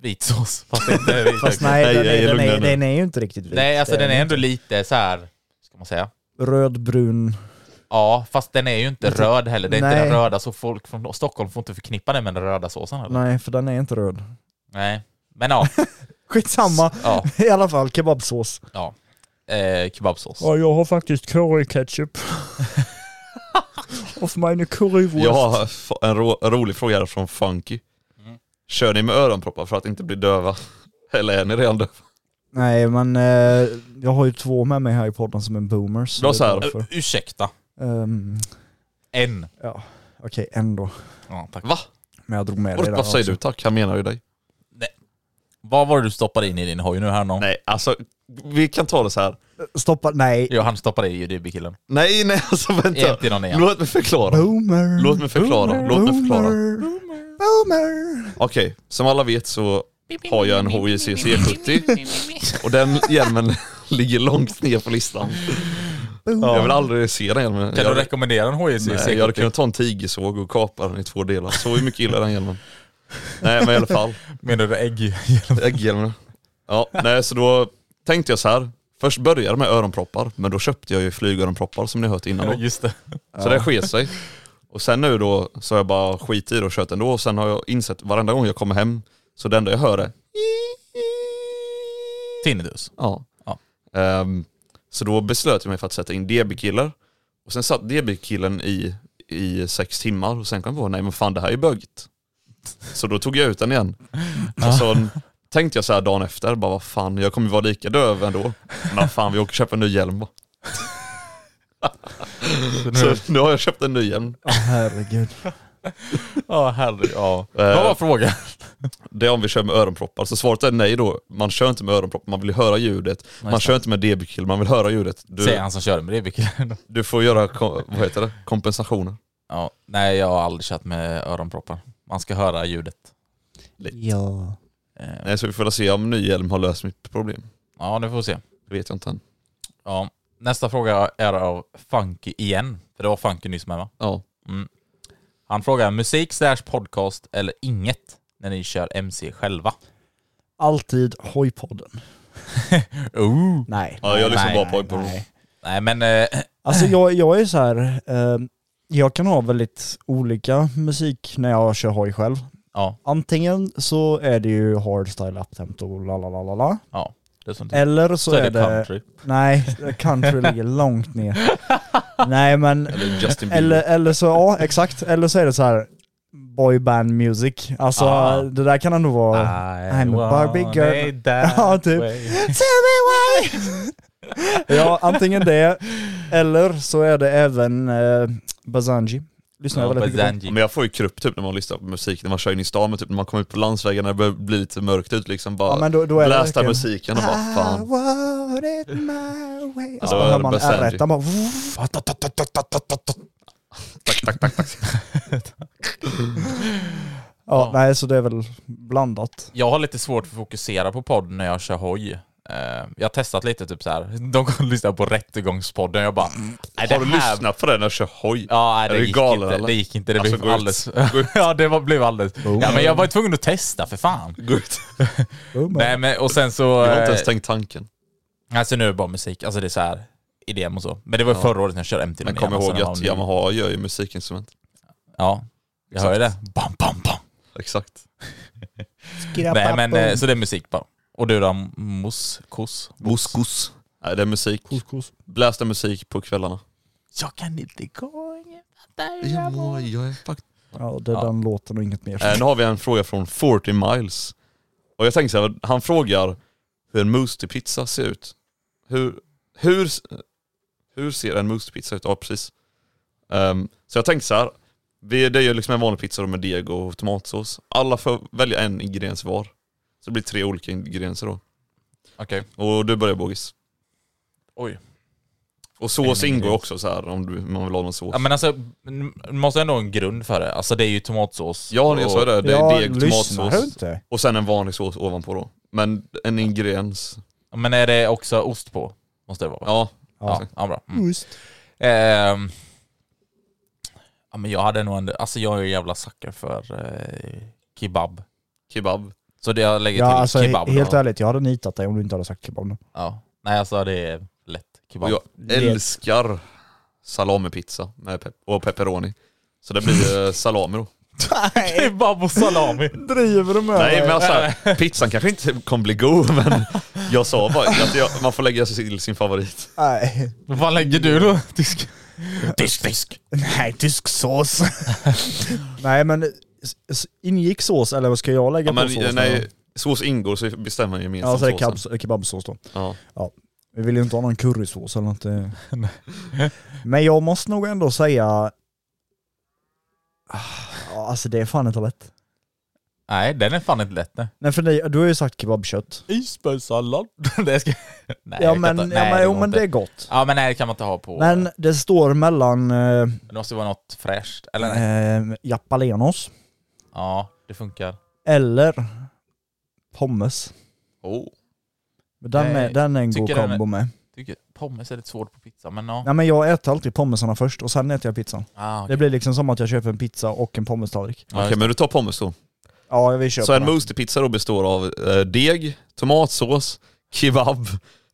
Speaker 3: vit sås. Fast det
Speaker 2: (laughs)
Speaker 3: inte är
Speaker 2: Fast
Speaker 3: vitlökssås.
Speaker 2: nej,
Speaker 1: Nej,
Speaker 2: den,
Speaker 1: jag
Speaker 2: är,
Speaker 1: är
Speaker 2: den,
Speaker 1: lugnare
Speaker 2: är,
Speaker 1: nu.
Speaker 2: den är ju inte riktigt vit.
Speaker 3: Nej, alltså
Speaker 2: Det
Speaker 3: den är ändå lite så här. ska man säga?
Speaker 2: Rödbrun.
Speaker 3: Ja, fast den är ju inte röd heller. Det är inte
Speaker 2: Nej.
Speaker 3: den röda, så folk från Stockholm får inte förknippa den med den röda såsen heller.
Speaker 2: Nej för den är inte röd.
Speaker 3: Nej. Men ja,
Speaker 2: Skitsamma.
Speaker 3: ja,
Speaker 2: I alla fall kebabsås.
Speaker 3: ja. Eh, kebabsås.
Speaker 2: jag har faktiskt (laughs) curryketchup. Och meine currywurst.
Speaker 1: Jag har f- en ro- en rolig fråga här från Funky.
Speaker 3: Mm.
Speaker 1: Kör ni med öronproppar för att inte bli döva? (laughs) Eller är ni redan döva?
Speaker 2: Nej men eh, jag har ju två med mig här i podden som är boomers.
Speaker 1: Bra så här.
Speaker 3: Eh, ursäkta.
Speaker 2: Um,
Speaker 3: En.
Speaker 2: ja, okej ändå.
Speaker 3: Ja, tack.
Speaker 1: Va?
Speaker 2: Men jag drog med
Speaker 1: Vad
Speaker 2: det där
Speaker 1: vad säger
Speaker 2: också.
Speaker 1: du tack? Han menar ju dig.
Speaker 3: Vad var det du stoppade in i din hoj nu här någon?
Speaker 1: Nej, alltså vi kan ta det så här.
Speaker 2: Stoppa, nej.
Speaker 3: Jo, han stoppade i UDB-killen.
Speaker 1: Nej, nej alltså vänta.
Speaker 3: Inte någon igen.
Speaker 1: Låt mig förklara.
Speaker 2: Boomer.
Speaker 1: Låt mig förklara. Låt mig förklara.
Speaker 2: Boomer. Boomer.
Speaker 1: Okej, som alla vet så har jag en HJCC 70 och den hjälmen (laughs) ligger långt ner på listan. Jag vill aldrig se den hjälmen.
Speaker 3: Kan
Speaker 1: jag,
Speaker 3: du rekommendera en HJC
Speaker 1: nej, jag hade kunnat ta en tigersåg och kapa den i två delar. Så mycket gillar jag den hjälmen. Nej men i alla fall,
Speaker 3: Menar du ägg? (laughs)
Speaker 1: ägghjälmen. Ja, nej så då tänkte jag så här. Först började jag med öronproppar, men då köpte jag ju flygöronproppar som ni hört innan. Då.
Speaker 3: Just det.
Speaker 1: Så det sker sig. Och sen nu då så har jag bara skit i det och kört ändå och sen har jag insett varenda gång jag kommer hem så det enda jag hör är
Speaker 3: Tinnitus.
Speaker 1: Ja.
Speaker 3: Ja.
Speaker 1: Ehm, så då beslöt jag mig för att sätta in DB-killar. Och sen satt DB-killen i, i sex timmar och sen kom jag på, nej men fan det här är bögigt. Så då tog jag ut den igen. Och så tänkte jag så här dagen efter, bara vad fan jag kommer vara lika döv ändå. Men vad fan vi åker och köper en ny hjälm bara.
Speaker 3: Så
Speaker 1: Så
Speaker 3: nu,
Speaker 1: nu har jag köpt en ny hjälm.
Speaker 2: Ja, herregud.
Speaker 3: ja, herre, ja. Vad
Speaker 1: Eh,
Speaker 3: var frågan?
Speaker 1: Det är om vi kör med öronproppar. Så svaret är nej då. Man kör inte med öronproppar, man vill ju höra ljudet. Man kör inte med DB-kill, man vill höra ljudet.
Speaker 3: Säger
Speaker 1: Du,
Speaker 3: han som körde med UDB-killen.
Speaker 1: du får göra, kom- vad heter det, kompensationer.
Speaker 3: Ja, nej, jag har aldrig kört med öronproppar. Man ska höra ljudet.
Speaker 2: Ja.
Speaker 3: Eh,
Speaker 1: Nej, så vi får väl se om ny hjälm har löst mitt problem.
Speaker 3: Ja, nu får vi se.
Speaker 1: Det vet jag inte än.
Speaker 3: Ja. Nästa fråga är av Funky igen. För det var Funky nyss med va?
Speaker 1: Ja.
Speaker 3: Han frågar musik slash podcast eller inget när ni kör MC själva.
Speaker 2: Alltid hojpodden.
Speaker 1: (laughs)
Speaker 3: Ooh.
Speaker 2: Nej.
Speaker 1: Oh. Ja, jag lyssnar
Speaker 3: Nej,
Speaker 1: bara på
Speaker 2: nej, nej.
Speaker 3: Nej men, eh, (clears throat)
Speaker 2: Alltså jag, jag är så här. Eh, jag kan ha väldigt olika musik när jag kör hoj själv.
Speaker 3: ja.
Speaker 2: Antingen så är det ju hardstyle, uptempo, la la la la la.
Speaker 3: ja. Det är sånt.
Speaker 2: Eller Eh, så,
Speaker 3: Så
Speaker 2: är det...
Speaker 3: country.
Speaker 2: Nej, country ligger långt ner. Nej men,
Speaker 1: Eller Justin Bieber.
Speaker 2: eller, eller så, ja exakt. Eller så är det så här boyband music. Alltså
Speaker 3: Ah.
Speaker 2: det där kan ändå vara... I'm a Barbie
Speaker 3: wanna
Speaker 2: girl.
Speaker 3: it that
Speaker 2: (laughs) Ja, typ.
Speaker 3: way.
Speaker 2: Tell me why!
Speaker 1: (laughs)
Speaker 2: ja, antingen det, eller så är det även eh, Bazanji. Lyssnar jag
Speaker 3: Ja,
Speaker 2: väldigt mycket på.
Speaker 1: Ja,
Speaker 3: Bazanji.
Speaker 1: Men jag får ju krupp typ när man lyssnar på musik, när man kör in i stan, men typ när man kommer ut på landsvägen när det börjar bli lite mörkt ut liksom bara
Speaker 2: Ja, men då- då är det
Speaker 1: blästa
Speaker 2: verkligen- Ah,
Speaker 1: musiken och bara
Speaker 2: I
Speaker 1: fan.
Speaker 2: want it my way.
Speaker 1: Ja,
Speaker 2: Så
Speaker 1: då är
Speaker 2: hör
Speaker 1: det
Speaker 2: man
Speaker 1: Bazanji.
Speaker 2: r bara...
Speaker 1: Tack, tack, tack, tack.
Speaker 2: Ja, nej så det är väl blandat.
Speaker 3: Jag har lite svårt att fokusera på podd när jag kör hoj. Eh, jag har testat lite typ så här. (laughs) de går och lyssnar på Rättegångspodden jag bara... Nej, det
Speaker 1: Mm. Har du
Speaker 3: här-
Speaker 1: lyssnat på det när jag kör hoj?
Speaker 3: Ja, nej, det,
Speaker 1: Är du
Speaker 3: gick
Speaker 1: galen,
Speaker 3: inte.
Speaker 1: eller?
Speaker 3: Det gick inte. Det
Speaker 1: Alltså,
Speaker 3: blev
Speaker 1: gå ut.
Speaker 3: alldeles...
Speaker 1: Gå ut.
Speaker 3: (laughs) ja, det var, blev alldeles...
Speaker 2: Oh.
Speaker 3: Ja, men jag var ju tvungen att testa (laughs) för fan.
Speaker 1: Gå ut.
Speaker 3: Nej, men och sen så...
Speaker 1: Jag har inte ens
Speaker 3: eh,
Speaker 1: tänkt tanken.
Speaker 3: Alltså nu är det bara musik, alltså det är så här idén och så. Men det var ju förra året när jag körde MT.
Speaker 1: Men kom ihåg att Yamaha gör ju musikinstrument.
Speaker 3: Alltså, Ja, jag hör ju det. Bam, bam, bam.
Speaker 1: Exakt.
Speaker 3: Nej men eh, så det är musik bara. Och du då, mos, kos?
Speaker 1: Muskos. Nej det är musik. Blästa musik på kvällarna.
Speaker 3: Jag kan inte gå ingen fattar hur
Speaker 1: Jag
Speaker 3: jag mår.
Speaker 1: mår- jag är fucked.
Speaker 2: Ja, det är den låten och inget mer.
Speaker 1: Eh, nu har vi en fråga från 40 miles. Och jag tänker så här, han frågar hur en mousse till pizza ser ut. Hur, hur, hur ser en mousse till pizza ut? Ja precis. Ehm, så jag tänkte så här, vi, det är ju liksom en vanlig pizza då med deg och tomatsås. Alla får välja en ingrediens var. Så det blir tre olika ingredienser då.
Speaker 3: Okej,
Speaker 1: Och du börjar Bogis.
Speaker 3: oj.
Speaker 1: Och
Speaker 3: En
Speaker 1: sås
Speaker 3: ingrediens.
Speaker 1: ingår också så här om du, man vill ha någon sås.
Speaker 3: Ja men alltså, man måste ändå ha en grund för det. Alltså det är ju tomatsås.
Speaker 1: Ja, jag
Speaker 3: och-
Speaker 1: sa ju det. Det är
Speaker 2: Ja,
Speaker 1: deg,
Speaker 2: lyssnar du
Speaker 1: tomatsås
Speaker 2: inte?
Speaker 1: och sen en vanlig sås ovanpå då. Men en ingrediens.
Speaker 3: Men är det också ost på? Måste det vara? va?
Speaker 1: Ja,
Speaker 3: Ja, ja bra. Mm.
Speaker 2: Just.
Speaker 3: Ehm, ja, men jag hade nog en, alltså jag är ju jävla sucker för eh, kebab.
Speaker 1: kebab.
Speaker 3: Så det jag lägger
Speaker 2: Ja,
Speaker 3: till
Speaker 2: alltså,
Speaker 3: kebab
Speaker 2: he- helt
Speaker 3: då.
Speaker 2: ärligt, jag hade nitat dig om du inte hade sagt kebab nu.
Speaker 3: Ja. Nej alltså det är lätt
Speaker 1: Och
Speaker 3: kebab.
Speaker 1: jag älskar salamipizza med pep- och pepperoni. Så det blir (laughs) eh, salami då.
Speaker 3: (laughs) Kebab och salami.
Speaker 2: Driver du med
Speaker 1: Nej men alltså, pizzan kanske inte kommer bli god (laughs) men jag sa bara att jag, man får lägga sig till sin favorit.
Speaker 2: Nej. (laughs)
Speaker 3: Vad lägger du då? Tysk. Tysk fisk.
Speaker 2: Nej, tysk sås. nej men, s- s- ingick sås eller vad ska jag lägga
Speaker 1: Ja,
Speaker 2: på
Speaker 1: men,
Speaker 2: sås?
Speaker 1: nej, sås ingår så bestämmer man gemensamt
Speaker 2: Ja, så det är
Speaker 1: såsen.
Speaker 2: kebab, kebabsås då.
Speaker 1: Ja.
Speaker 2: Vi vill ju inte ha någon currysås eller något. eh. men jag måste nog ändå säga... Ah, Alltså det är fan inte lätt.
Speaker 3: Nej, den är fan inte lätt. nej.
Speaker 2: Nej för nej, du har ju sagt kebabkött.
Speaker 3: Isbergssallad. (laughs) det ska... Nej,
Speaker 2: ja
Speaker 3: det kan
Speaker 2: men,
Speaker 3: inte-
Speaker 2: ja,
Speaker 3: nej,
Speaker 2: men,
Speaker 3: det
Speaker 2: jo,
Speaker 3: går
Speaker 2: men
Speaker 3: inte.
Speaker 2: det är gott.
Speaker 3: Ja men nej det kan man inte ha på.
Speaker 2: Men det står mellan eh,
Speaker 3: Det måste vara något fräscht. Eller nej.
Speaker 2: eh, Japalenos
Speaker 3: Ja, det funkar.
Speaker 2: eller pommes.
Speaker 1: Oh.
Speaker 2: Men Den
Speaker 3: Nej,
Speaker 2: är, den är en
Speaker 3: tycker
Speaker 2: god
Speaker 3: den är-
Speaker 2: kombo med.
Speaker 3: Tycker pommes är lite svårt på pizza men ja.
Speaker 2: Nej men jag äter alltid pommesarna först och sen äter jag pizzan.
Speaker 3: Ah, okej.
Speaker 2: Det blir liksom som att jag köper en pizza och en pommes-tallrik.
Speaker 3: Ja,
Speaker 1: Okej
Speaker 3: just det.
Speaker 1: men du tar pommes då.
Speaker 2: Ja jag vill köpa
Speaker 1: Så en
Speaker 2: den.
Speaker 1: mustipizza då består av eh, deg, tomatsås, kebab,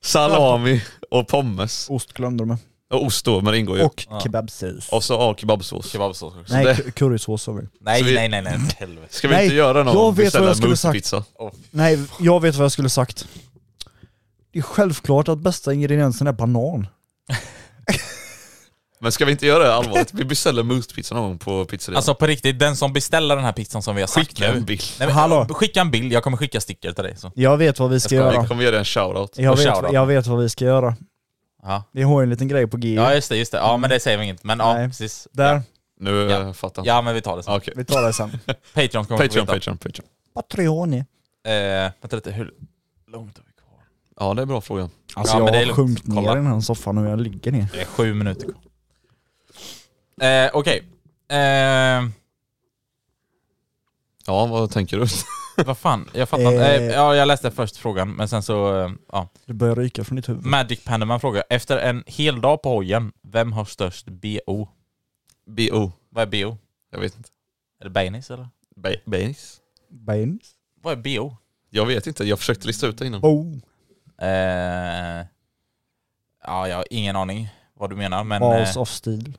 Speaker 1: salami och pommes.
Speaker 2: Ost glömde de med.
Speaker 1: Och ost då, men det ingår ju.
Speaker 2: Och
Speaker 3: Ja.
Speaker 2: kebabsås.
Speaker 1: Och så ja, kebabsås.
Speaker 3: Kebabsås också.
Speaker 2: Nej
Speaker 1: det-
Speaker 2: cu- currysås har vi.
Speaker 3: Nej,
Speaker 1: Så vi-
Speaker 3: nej, nej, nej, (laughs) helvete.
Speaker 1: Ska vi
Speaker 2: Nej,
Speaker 1: inte göra någon
Speaker 2: jag vet vad
Speaker 1: beställa
Speaker 2: jag skulle sagt.
Speaker 1: mustipizza?
Speaker 2: Nej jag vet vad jag skulle sagt. Det är självklart att bästa ingrediensen är banan.
Speaker 1: Men ska vi inte göra det allvarligt? Vi beställer mustipizza någon gång på pizzerian.
Speaker 3: Alltså på riktigt, den som beställer den här pizzan som vi har sagt
Speaker 1: Skicka
Speaker 3: nu.
Speaker 1: en bild.
Speaker 3: Nej, men,
Speaker 2: Hallå.
Speaker 3: Skicka en bild, jag kommer skicka sticker till dig. Så.
Speaker 2: Jag vet vad vi ska
Speaker 3: Jag ska-
Speaker 1: Vi
Speaker 2: göra.
Speaker 1: kommer ge dig en shoutout.
Speaker 2: Jag
Speaker 3: Och
Speaker 2: vet,
Speaker 3: shoutout.
Speaker 2: jag vet vad vi ska göra.
Speaker 3: Ja.
Speaker 2: Vi har ju en liten grej på G.
Speaker 3: ja, just det, just det. Ja, men det säger vi inget. Men ja,
Speaker 2: Nej.
Speaker 3: precis.
Speaker 2: Där,
Speaker 1: Nu
Speaker 3: Ja.
Speaker 1: eh, fattar jag.
Speaker 3: Ja, men vi tar det sen.
Speaker 1: Okej.
Speaker 2: vi tar det
Speaker 3: (laughs)
Speaker 2: sen.
Speaker 3: Patreon kommer
Speaker 1: Patreon,
Speaker 3: få veta.
Speaker 1: Patreon, Patreon.
Speaker 2: Patreoni.
Speaker 3: Eh, vänta lite, hur långt har vi kvar?
Speaker 1: Ja det är en bra fråga.
Speaker 2: Alltså
Speaker 3: Ja, men det är
Speaker 2: jag har
Speaker 3: lugnt.
Speaker 2: sjunkit ner
Speaker 3: Kolla.
Speaker 2: i den här soffan och jag ligger ner.
Speaker 3: Det är sju minuter kvar. Eh, Okej. Eh,
Speaker 1: Ja vad tänker (laughs) du?
Speaker 3: vad fan, jag fattar inte.
Speaker 2: Eh.
Speaker 3: Eh, ja, jag läste först frågan, men sen så... eh, Ja.
Speaker 2: Det börjar ryka från ditt huvud.
Speaker 3: Magic Pandaman frågar, efter en hel dag på hojen, vem har störst BO?
Speaker 1: B.O.
Speaker 3: Vad är BO?
Speaker 1: Jag vet inte.
Speaker 3: Är det Bainis eller?
Speaker 1: Ba- Baineys?
Speaker 2: Bains.
Speaker 3: Vad är BO?
Speaker 1: Jag vet inte, jag försökte lista ut det innan.
Speaker 2: Oh.
Speaker 3: Eh, ja, jag har ingen aning vad du menar, men...
Speaker 2: Balls
Speaker 3: eh,
Speaker 2: of steel.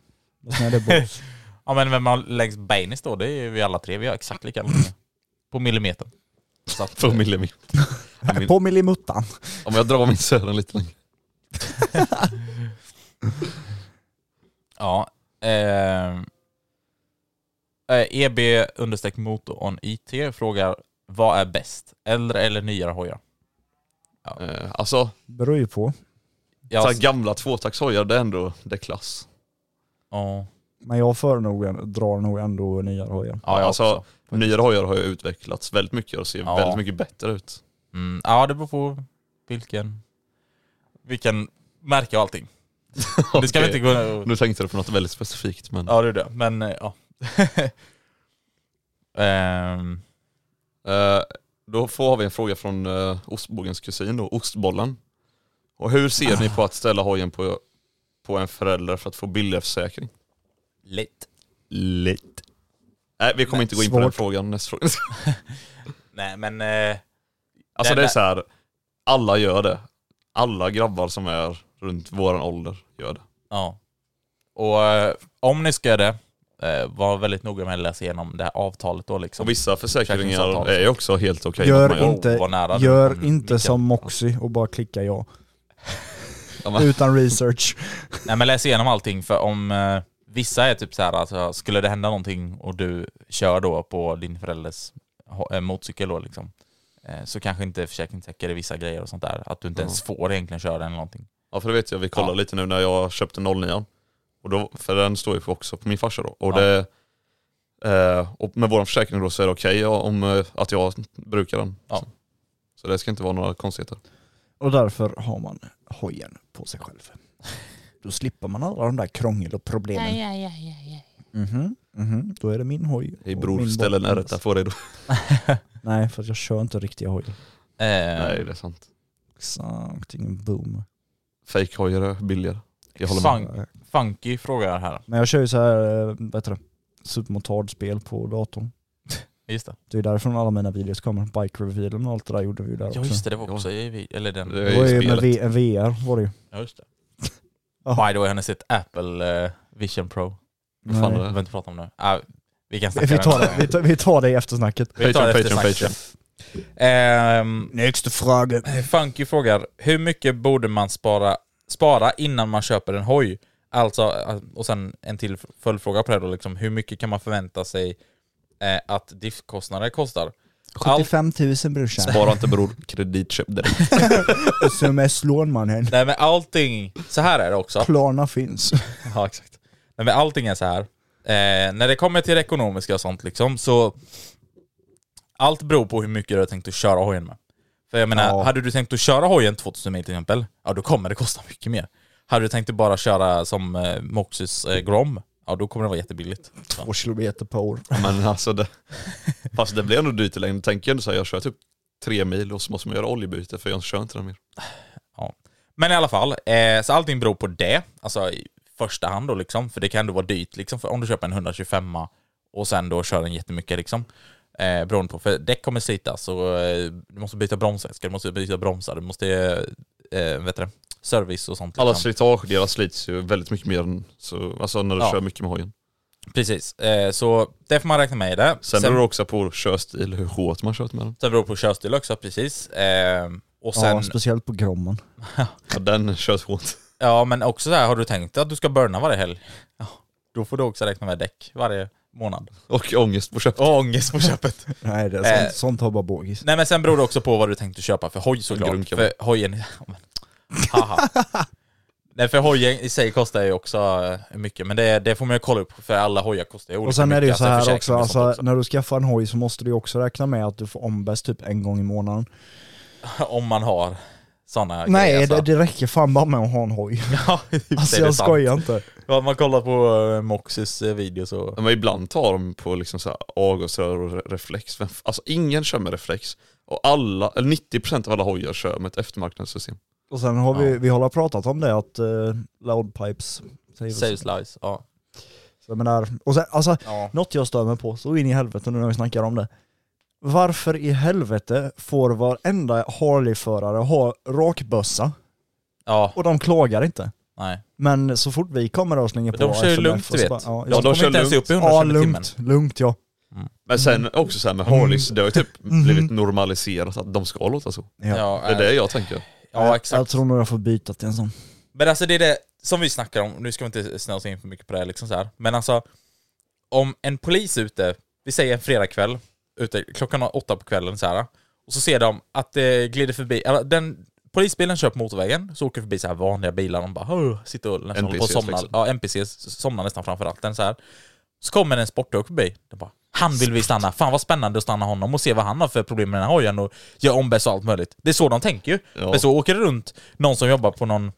Speaker 2: Vad snäll det är
Speaker 3: (laughs)
Speaker 2: balls.
Speaker 3: ja, men vem har längst Bainis då? Det är vi alla tre, vi har exakt lika långa. På millimetern. Så att,
Speaker 1: För millimeter. Min-
Speaker 2: På millimuttan.
Speaker 1: Om jag drar min sören lite längre.
Speaker 3: Ja. Eh, eh, EB understreck motor on IT frågar vad är bäst? Äldre eller nyare hojar?
Speaker 1: Eh, Alltså,
Speaker 2: Beror ju på.
Speaker 3: Jag,
Speaker 1: så här gamla tvåtaktshojar det är ändå, det är klass.
Speaker 3: ja,
Speaker 2: Men jag för nog, en- drar nog ändå nyare hojar.
Speaker 3: ja, jag
Speaker 1: alltså,
Speaker 3: också.
Speaker 1: Nyare hojar har ju utvecklats väldigt mycket och ser
Speaker 3: Ja.
Speaker 1: väldigt mycket bättre ut.
Speaker 3: Mm, ja, det beror på vilken, vilken märke och allting. Det ska
Speaker 1: (laughs)
Speaker 3: vi inte
Speaker 1: Okej.
Speaker 3: gå och...
Speaker 1: Nu tänkte du på något väldigt specifikt men...
Speaker 3: Ja, det är det. Men eh, ja. (laughs) Ehm,
Speaker 1: Eh, då får vi en fråga från eh, ostbågens kusin då, ostbollen. Och hur ser ni på att ställa hojen på, på en förälder för att få billigare försäkring?
Speaker 3: lite.
Speaker 1: Lite. Nej vi kommer inte gå in på den
Speaker 2: Svårt.
Speaker 1: frågan nästa fråga. (laughs)
Speaker 3: Nej, men... Eh,
Speaker 1: Alltså det
Speaker 3: Den
Speaker 1: är
Speaker 3: där-
Speaker 1: så här. alla gör det. Alla grabbar som är runt våran ålder gör det.
Speaker 3: Ja. Och eh, om ni ska göra det, eh, var väldigt noga med att läsa igenom det här avtalet då liksom.
Speaker 1: Och vissa försäkringar
Speaker 3: Försäkringsavtal.
Speaker 1: är ju också helt okej att man
Speaker 2: Gör
Speaker 1: gör.
Speaker 3: in-
Speaker 2: inte,
Speaker 3: Wow, vad nära du kom,
Speaker 2: gör
Speaker 3: Mikael.
Speaker 2: inte som Moxie och bara klicka ja.
Speaker 1: Ja, men-
Speaker 2: Utan research.
Speaker 3: Nej men läs igenom allting för om eh, vissa är typ så här, alltså, skulle det hända någonting och du kör då på din förälders ho- eh, motorcykel då liksom, eh, så kanske inte försäkringen täcker i vissa grejer och sånt där. Att du inte ens får egentligen köra den eller någonting.
Speaker 1: Ja för det vet jag, vi kollade
Speaker 3: Ja.
Speaker 1: lite nu när jag köpte 09 och då, För den står ju på- också på min farsa då. Och,
Speaker 3: Ja.
Speaker 1: det, eh, och med vår försäkring då så är det okej ja, om eh, att jag brukar den.
Speaker 3: Ja.
Speaker 1: Så det ska inte vara några konstigheter.
Speaker 2: Och därför har man hojen på sig själv. Då slipper man alla de där krångel och problemen. Ja, ja, ja, ja. Mhm, mhm. Då är det min hoj.
Speaker 1: Hej
Speaker 2: och
Speaker 1: bror,
Speaker 2: min
Speaker 1: ställ en
Speaker 2: barnkompis.
Speaker 1: ärta för dig då.
Speaker 2: Nej, för att jag kör inte riktiga hojar.
Speaker 3: Eh,
Speaker 1: Nej det är sant.
Speaker 2: Exakt, ingen boom.
Speaker 1: Fake hojar är billigare. Jag håller med.
Speaker 3: Fan. Funky frågar här.
Speaker 2: Men jag kör ju så här, eh, vad heter det, supermotardspel på datorn.
Speaker 3: Just det.
Speaker 2: Det är därifrån alla mina videos kommer. Bike-revealen och allt det där gjorde vi ju där också.
Speaker 3: Ja just det, det var
Speaker 1: Ja.
Speaker 3: också i vi- eller den.
Speaker 1: Det är
Speaker 2: Det var ju med
Speaker 1: spelet.
Speaker 2: v- VR var det ju.
Speaker 3: Ja, just det.
Speaker 2: Ja.
Speaker 3: By the way, har ni sett Apple eh, Vision Pro?
Speaker 1: Vad fan är
Speaker 2: Nej.
Speaker 3: Vi
Speaker 1: det?
Speaker 3: behöver inte prata om det. Ah, vi kan snacka
Speaker 2: Vi
Speaker 3: om
Speaker 2: tar det, vi tar, vi tar det i eftersnacket.
Speaker 3: Vi tar det efter
Speaker 1: Patreon,
Speaker 3: snacket.
Speaker 1: Patreon,
Speaker 3: Ehm,
Speaker 2: Nästa fråga.
Speaker 3: Funky frågar, hur mycket borde man spara, spara innan man köper en hoj? Alltså, och sen en till följdfråga på det då, liksom, hur mycket kan man förvänta sig eh, att diffkostnader kostar?
Speaker 2: 75 000 brorsan.
Speaker 1: Spara inte bror, kreditköp direkt.
Speaker 2: Sms-lån mannen.
Speaker 3: Nej men allting, så här är det också.
Speaker 2: Klarna finns.
Speaker 3: (laughs) Ja, exakt. Nej, men allting är så här. Eh, när det kommer till det ekonomiska och sånt liksom så Allt beror på hur mycket du har tänkt att köra hojen med. För jag menar,
Speaker 2: Ja.
Speaker 3: hade du tänkt att köra hojen 2000 mil till exempel, ja då kommer det kosta mycket mer. Hade du tänkt att bara köra som eh, Moxys eh, Grom, ja då kommer det vara jättebilligt.
Speaker 2: Två kilometer per år.
Speaker 1: (laughs) Men alltså det, fast det blir ändå dyrt i längden. Tänker jag ändå så här, jag kör typ tre mil och så måste man göra oljebyte för jag kör inte den mer.
Speaker 3: Men i alla fall, eh, så allting beror på det. Alltså i första hand då liksom, för det kan ändå vara dyrt liksom, för om du köper en 125 och sen då kör den jättemycket liksom. Eh, beroende på, för däck kommer slita så eh, du måste byta bromsvätska, du måste byta bromsar, du måste, eh, eh, vet du det, service och sånt.
Speaker 1: Alla
Speaker 3: liksom.
Speaker 1: slitagedelar slits ju väldigt mycket mer än, så, alltså när du
Speaker 3: Ja.
Speaker 1: kör mycket med hojen.
Speaker 3: Precis, eh, så det får man räkna med i det.
Speaker 1: Sen beror det också på körstil, hur hårt man kört med den.
Speaker 3: sen beror det på körstil också, precis. Eh, och sen,
Speaker 2: Ja, speciellt på Grommen.
Speaker 1: Ja, den körs hårt. (laughs)
Speaker 3: Ja, men också så här, har du tänkt att du ska burna varje helg? Ja, då får du också räkna med däck varje månad.
Speaker 1: Och ångest på köpet.
Speaker 3: Och ångest på köpet.
Speaker 2: Nej, det
Speaker 3: Eh.
Speaker 2: är sånt, sånt har bara bågis.
Speaker 3: Nej men sen beror det också på vad du tänkte köpa för hoj såklart.
Speaker 1: Grunka.
Speaker 3: För hojen... (laughs) Ja, men- Haha. Nej för hojen i sig kostar ju också eh, mycket, men det, det får man ju kolla upp för alla hojar kostar ju olika
Speaker 2: Och sen är det ju
Speaker 3: mycket,
Speaker 2: så
Speaker 3: alltså,
Speaker 2: här
Speaker 3: försäkring
Speaker 2: också,
Speaker 3: och
Speaker 2: alltså,
Speaker 3: sånt
Speaker 2: när du skaffar en hoj så måste du ju också räkna med att du får ombäst typ en gång i månaden.
Speaker 3: Om man har sådana
Speaker 2: alltså, Nej,
Speaker 3: grejer.
Speaker 2: det,
Speaker 3: alltså.
Speaker 2: det räcker fan bara med att ha en hoj.
Speaker 3: (laughs) Ja, i och för
Speaker 2: (laughs)
Speaker 3: sig,
Speaker 2: Alltså
Speaker 3: det är
Speaker 2: jag
Speaker 3: sant.
Speaker 2: skojar inte.
Speaker 3: Ja, man kollar på eh, Moxys eh, videos och...
Speaker 1: Ja, (laughs) Men ibland tar de på liksom så här avgasrör och re- reflex. Vem f- Alltså ingen kör med reflex. Och alla, eller 90% av alla hojar kör med ett eftermarknadssystem.
Speaker 2: Och sen har vi,
Speaker 3: Ja.
Speaker 2: vi har pratat om det att uh, loudpipes
Speaker 3: Save slice, ja.
Speaker 2: Så jag menar, och sen, alltså,
Speaker 3: ja.
Speaker 2: något jag stör mig på, så in i helvete nu när vi snackar om det. Varför i helvete får varenda Harley-förare ha rakbössa?
Speaker 3: Ja,
Speaker 2: Och de klagar inte.
Speaker 3: nej.
Speaker 2: Men så fort vi kommer och slänger på
Speaker 3: De kör ju
Speaker 2: FMF
Speaker 3: lugnt,
Speaker 2: och
Speaker 3: du
Speaker 2: så
Speaker 3: vet.
Speaker 2: bara, Ja,
Speaker 1: Ja,
Speaker 3: de
Speaker 1: de
Speaker 3: kommer
Speaker 1: kör
Speaker 3: inte ens upp i
Speaker 2: ja,
Speaker 3: 100
Speaker 2: ja
Speaker 3: km i timmen.
Speaker 2: lugnt, lugnt ja.
Speaker 3: Mm.
Speaker 1: Men sen också så här med Harleys, det har ju typ blivit normaliserat att de ska låta så.
Speaker 2: Ja.
Speaker 3: Ja, eh,
Speaker 1: Det är det jag tänker.
Speaker 3: ja,
Speaker 2: Jag
Speaker 3: exakt.
Speaker 2: tror nog jag får byta till en sån.
Speaker 3: Men alltså det är det som vi snackar om, nu ska vi inte snöa oss in för mycket på det här, liksom så här. Men alltså, om en polis ute, vi säger en fredagkväll, ute klockan åtta på kvällen så här, och så ser de att det glider förbi, eller den polisbilen kör på motorvägen, så åker förbi så här vanliga bilar, de bara "Åh", sitter och nästan håller på och
Speaker 1: NPCs
Speaker 3: somnar.
Speaker 1: liksom.
Speaker 3: Ja, NPCs somnar nästan framför ratten så här. Så kommer en sportdog förbi, de bara han vill vi stanna, fan vad spännande att stanna honom och se vad han har för problem med den här hojen och göra ombäst och allt möjligt. Det är så de tänker ju.
Speaker 1: Ja.
Speaker 3: Men så åker det runt någon som jobbar på någon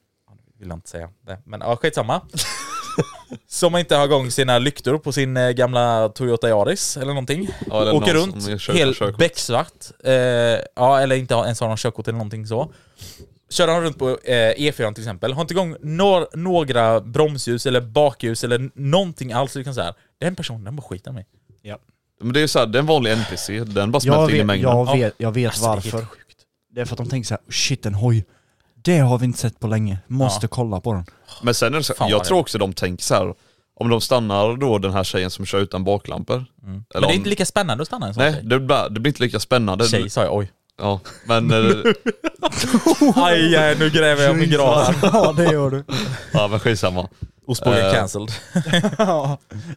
Speaker 3: vill jag inte säga det, men ja,
Speaker 1: (laughs)
Speaker 3: skitsamma. som inte har igång sina lyktor på sin eh, gamla Toyota Yaris eller någonting.
Speaker 1: Ja, eller
Speaker 3: Åker
Speaker 1: någon som
Speaker 3: runt,
Speaker 1: kör-
Speaker 3: helt
Speaker 1: körkort.
Speaker 3: becksvart. Eh, ja, eller inte har- ens har någon körkort eller någonting så. Kör han runt på eh, E4 till exempel, har inte igång nor- några bromsljus eller bakljus eller n- någonting alls. Du kan säga, den personen den bara skiter mig.
Speaker 1: Men det är ju såhär, det är en vanlig NPC, den bara
Speaker 2: Jag
Speaker 1: smälter in i
Speaker 2: vet,
Speaker 1: mängden.
Speaker 2: jag
Speaker 3: Ja.
Speaker 2: vet, jag vet
Speaker 3: Alltså, det är helt
Speaker 2: varför. Det är för att de tänker så här, shit en hoj. Det har vi inte sett på länge, måste kolla på den.
Speaker 1: Men sen är det så,
Speaker 3: Fan vad
Speaker 1: jag
Speaker 3: det
Speaker 1: tror
Speaker 3: är.
Speaker 1: också de tänker så här. om de stannar då den här tjejen som kör utan baklampor. Eller
Speaker 3: Mm. Men det är
Speaker 1: om-
Speaker 3: inte lika spännande att stanna en sån
Speaker 1: Nej,
Speaker 3: tjej.
Speaker 1: det blir, det blir inte lika spännande.
Speaker 3: Tjej sa jag,
Speaker 1: (laughs)
Speaker 3: oj.
Speaker 1: Ja, men, eh,
Speaker 3: Aj, aj, nu gräver jag min grav (laughs) här.
Speaker 2: Ja det gör du.
Speaker 1: ja, men skitsamma.
Speaker 3: Ostbågen
Speaker 1: Eh,
Speaker 3: cancelled.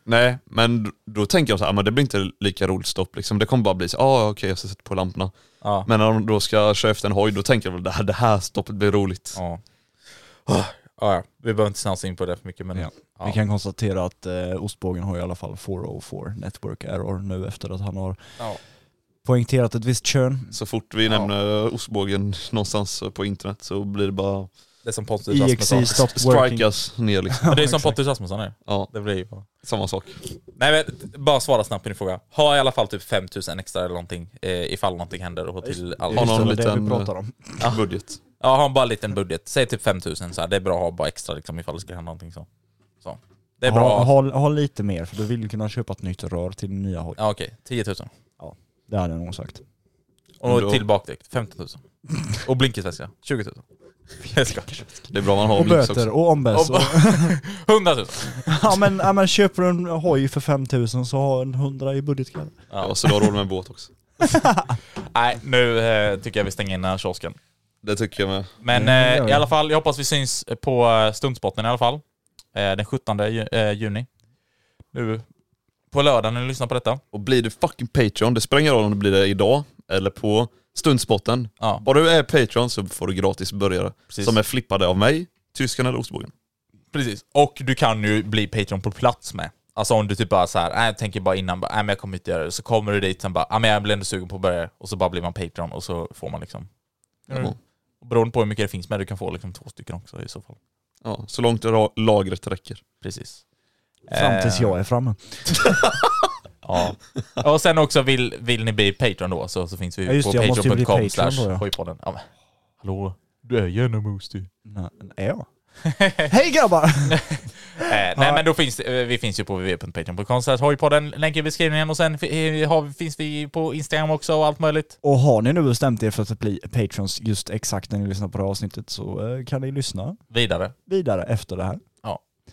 Speaker 1: Nej, men d- då tänker de så här, "Ah, men det blir inte lika roligt stopp liksom. Det kommer bara bli så, ah, okej jag ska sätta på lamporna.
Speaker 3: Ja.
Speaker 1: Men när de då ska köra efter en hoj, då tänker de väl det här, det här stoppet blir roligt.
Speaker 3: Ja. Ah, Ja, ja. vi behöver inte snöa oss in på det för mycket men... Ja.
Speaker 2: Ja. Vi kan konstatera att eh, ostbågen har i alla fall 404 network error nu efter att han har
Speaker 3: Ja.
Speaker 2: poängterat ett visst kön.
Speaker 1: Så fort vi nämner ostbågen någonstans på internet så blir det bara
Speaker 3: Det är som Pontus Rasmusson.
Speaker 2: EXE E stopped working.
Speaker 1: strikas ner liksom.
Speaker 3: (laughs) Men det är som Pontus Rasmusson är.
Speaker 1: Ja,
Speaker 3: Det blir ju bara...
Speaker 1: samma sak.
Speaker 3: Nej men bara svara snabbt på din fråga. Ha i alla fall typ 5000 extra eller någonting eh, ifall någonting händer och ha till alla.
Speaker 1: Har
Speaker 2: Just
Speaker 1: någon
Speaker 2: det, det
Speaker 1: liten-
Speaker 2: vi pratar om.
Speaker 1: Budget.
Speaker 3: Ja, ha bara en liten budget. Säg typ 5000 så här. Det är bra att ha bara extra liksom ifall det skulle hända någonting så. Så. Det är bra.
Speaker 2: Ha,
Speaker 3: att ha.
Speaker 2: ha, ha lite mer för du vill ju kunna köpa ett nytt rör till din nya hoj.
Speaker 3: Ja okej, 10 000.
Speaker 2: Det hade jag nog sagt.
Speaker 3: Och
Speaker 1: Då-
Speaker 3: till bakdäck, 15 000. Och blinkersväska, 20 000. Jag skojar.
Speaker 1: Det är bra man har
Speaker 2: Och
Speaker 1: blinks
Speaker 2: böter
Speaker 1: också.
Speaker 2: och ombäst.
Speaker 3: Och bara- 100 000.
Speaker 2: (laughs) ja, men, ja men köper du en hoj för 5000 så har en 100 i budgetklass.
Speaker 1: Ja, så du har råd med en båt också.
Speaker 3: Nej, nu eh, tycker jag vi stänger in den här kiosken.
Speaker 1: Det tycker jag med.
Speaker 3: Men
Speaker 2: Ja, det gör
Speaker 3: eh, i
Speaker 2: vi.
Speaker 3: alla fall, jag hoppas vi syns på eh, stundspotten i alla fall. Eh, den 17 ju, eh, juni. Nu på lördag när du lyssnar på detta.
Speaker 1: Och blir du fucking Patreon, det spelar ingen roll om det blir det idag eller på stundspotten.
Speaker 3: Ja,
Speaker 1: Bara du är Patreon så får du gratis burgare
Speaker 3: Precis.
Speaker 1: som är flippade av mig, tysken eller ostbågen.
Speaker 3: precis. Och du kan ju bli Patreon på plats med. Alltså om du typ bara såhär, nej jag tänker bara innan, bara, nej men jag kommer inte göra det. Så kommer du dit, sen bara, nej men jag blir ändå sugen på att börja. Och så bara blir man Patreon och så får man liksom.
Speaker 1: Ja.
Speaker 3: Beroende på hur mycket det finns med, du kan få liksom två stycken också i så fall.
Speaker 1: Ja, så långt ra- lagret räcker.
Speaker 3: Precis.
Speaker 2: Fram tills
Speaker 3: Eh,
Speaker 2: jag är framme.
Speaker 3: Ja. Och sen också vill, vill ni bli Patreon då så, så finns vi
Speaker 2: Ja, just
Speaker 3: på
Speaker 2: det, jag måste ju bli
Speaker 3: patreon.com
Speaker 2: Patreon
Speaker 3: slash
Speaker 2: då, ja.
Speaker 3: hojpodden. Ja, men, hallå? Du är ju en host du.
Speaker 2: Nej, är jag? (laughs) Hej
Speaker 3: (laughs)
Speaker 2: grabbar!
Speaker 3: Eh, nej men då finns eh, vi finns ju på www.patreon.com slash hojpodden, länk i beskrivningen och sen fi- eh, har, finns vi på Instagram också och allt möjligt.
Speaker 2: Och har ni nu bestämt er för att bli patrons just exakt när ni lyssnar på det här avsnittet så eh, kan ni lyssna
Speaker 3: Vidare.
Speaker 2: vidare efter det här.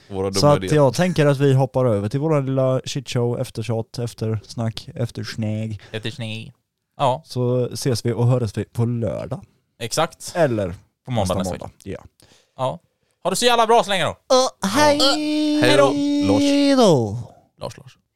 Speaker 1: Våra
Speaker 2: Så
Speaker 1: dumma
Speaker 2: att
Speaker 1: idéer.
Speaker 2: jag tänker att vi hoppar över till våra lilla shitshow, eftershot, eftersnack, eftersnäg.
Speaker 3: Eftersni. Ja,
Speaker 2: Så ses vi och hörs vi på lördag.
Speaker 3: exakt.
Speaker 2: Eller
Speaker 3: På måndag
Speaker 2: nästa
Speaker 3: nästa vecka.
Speaker 2: måndag. Ja.
Speaker 3: Ja. Ha det så jävla bra så länge då.
Speaker 2: hej
Speaker 3: Hej då.
Speaker 2: då!
Speaker 3: Lars, Lars.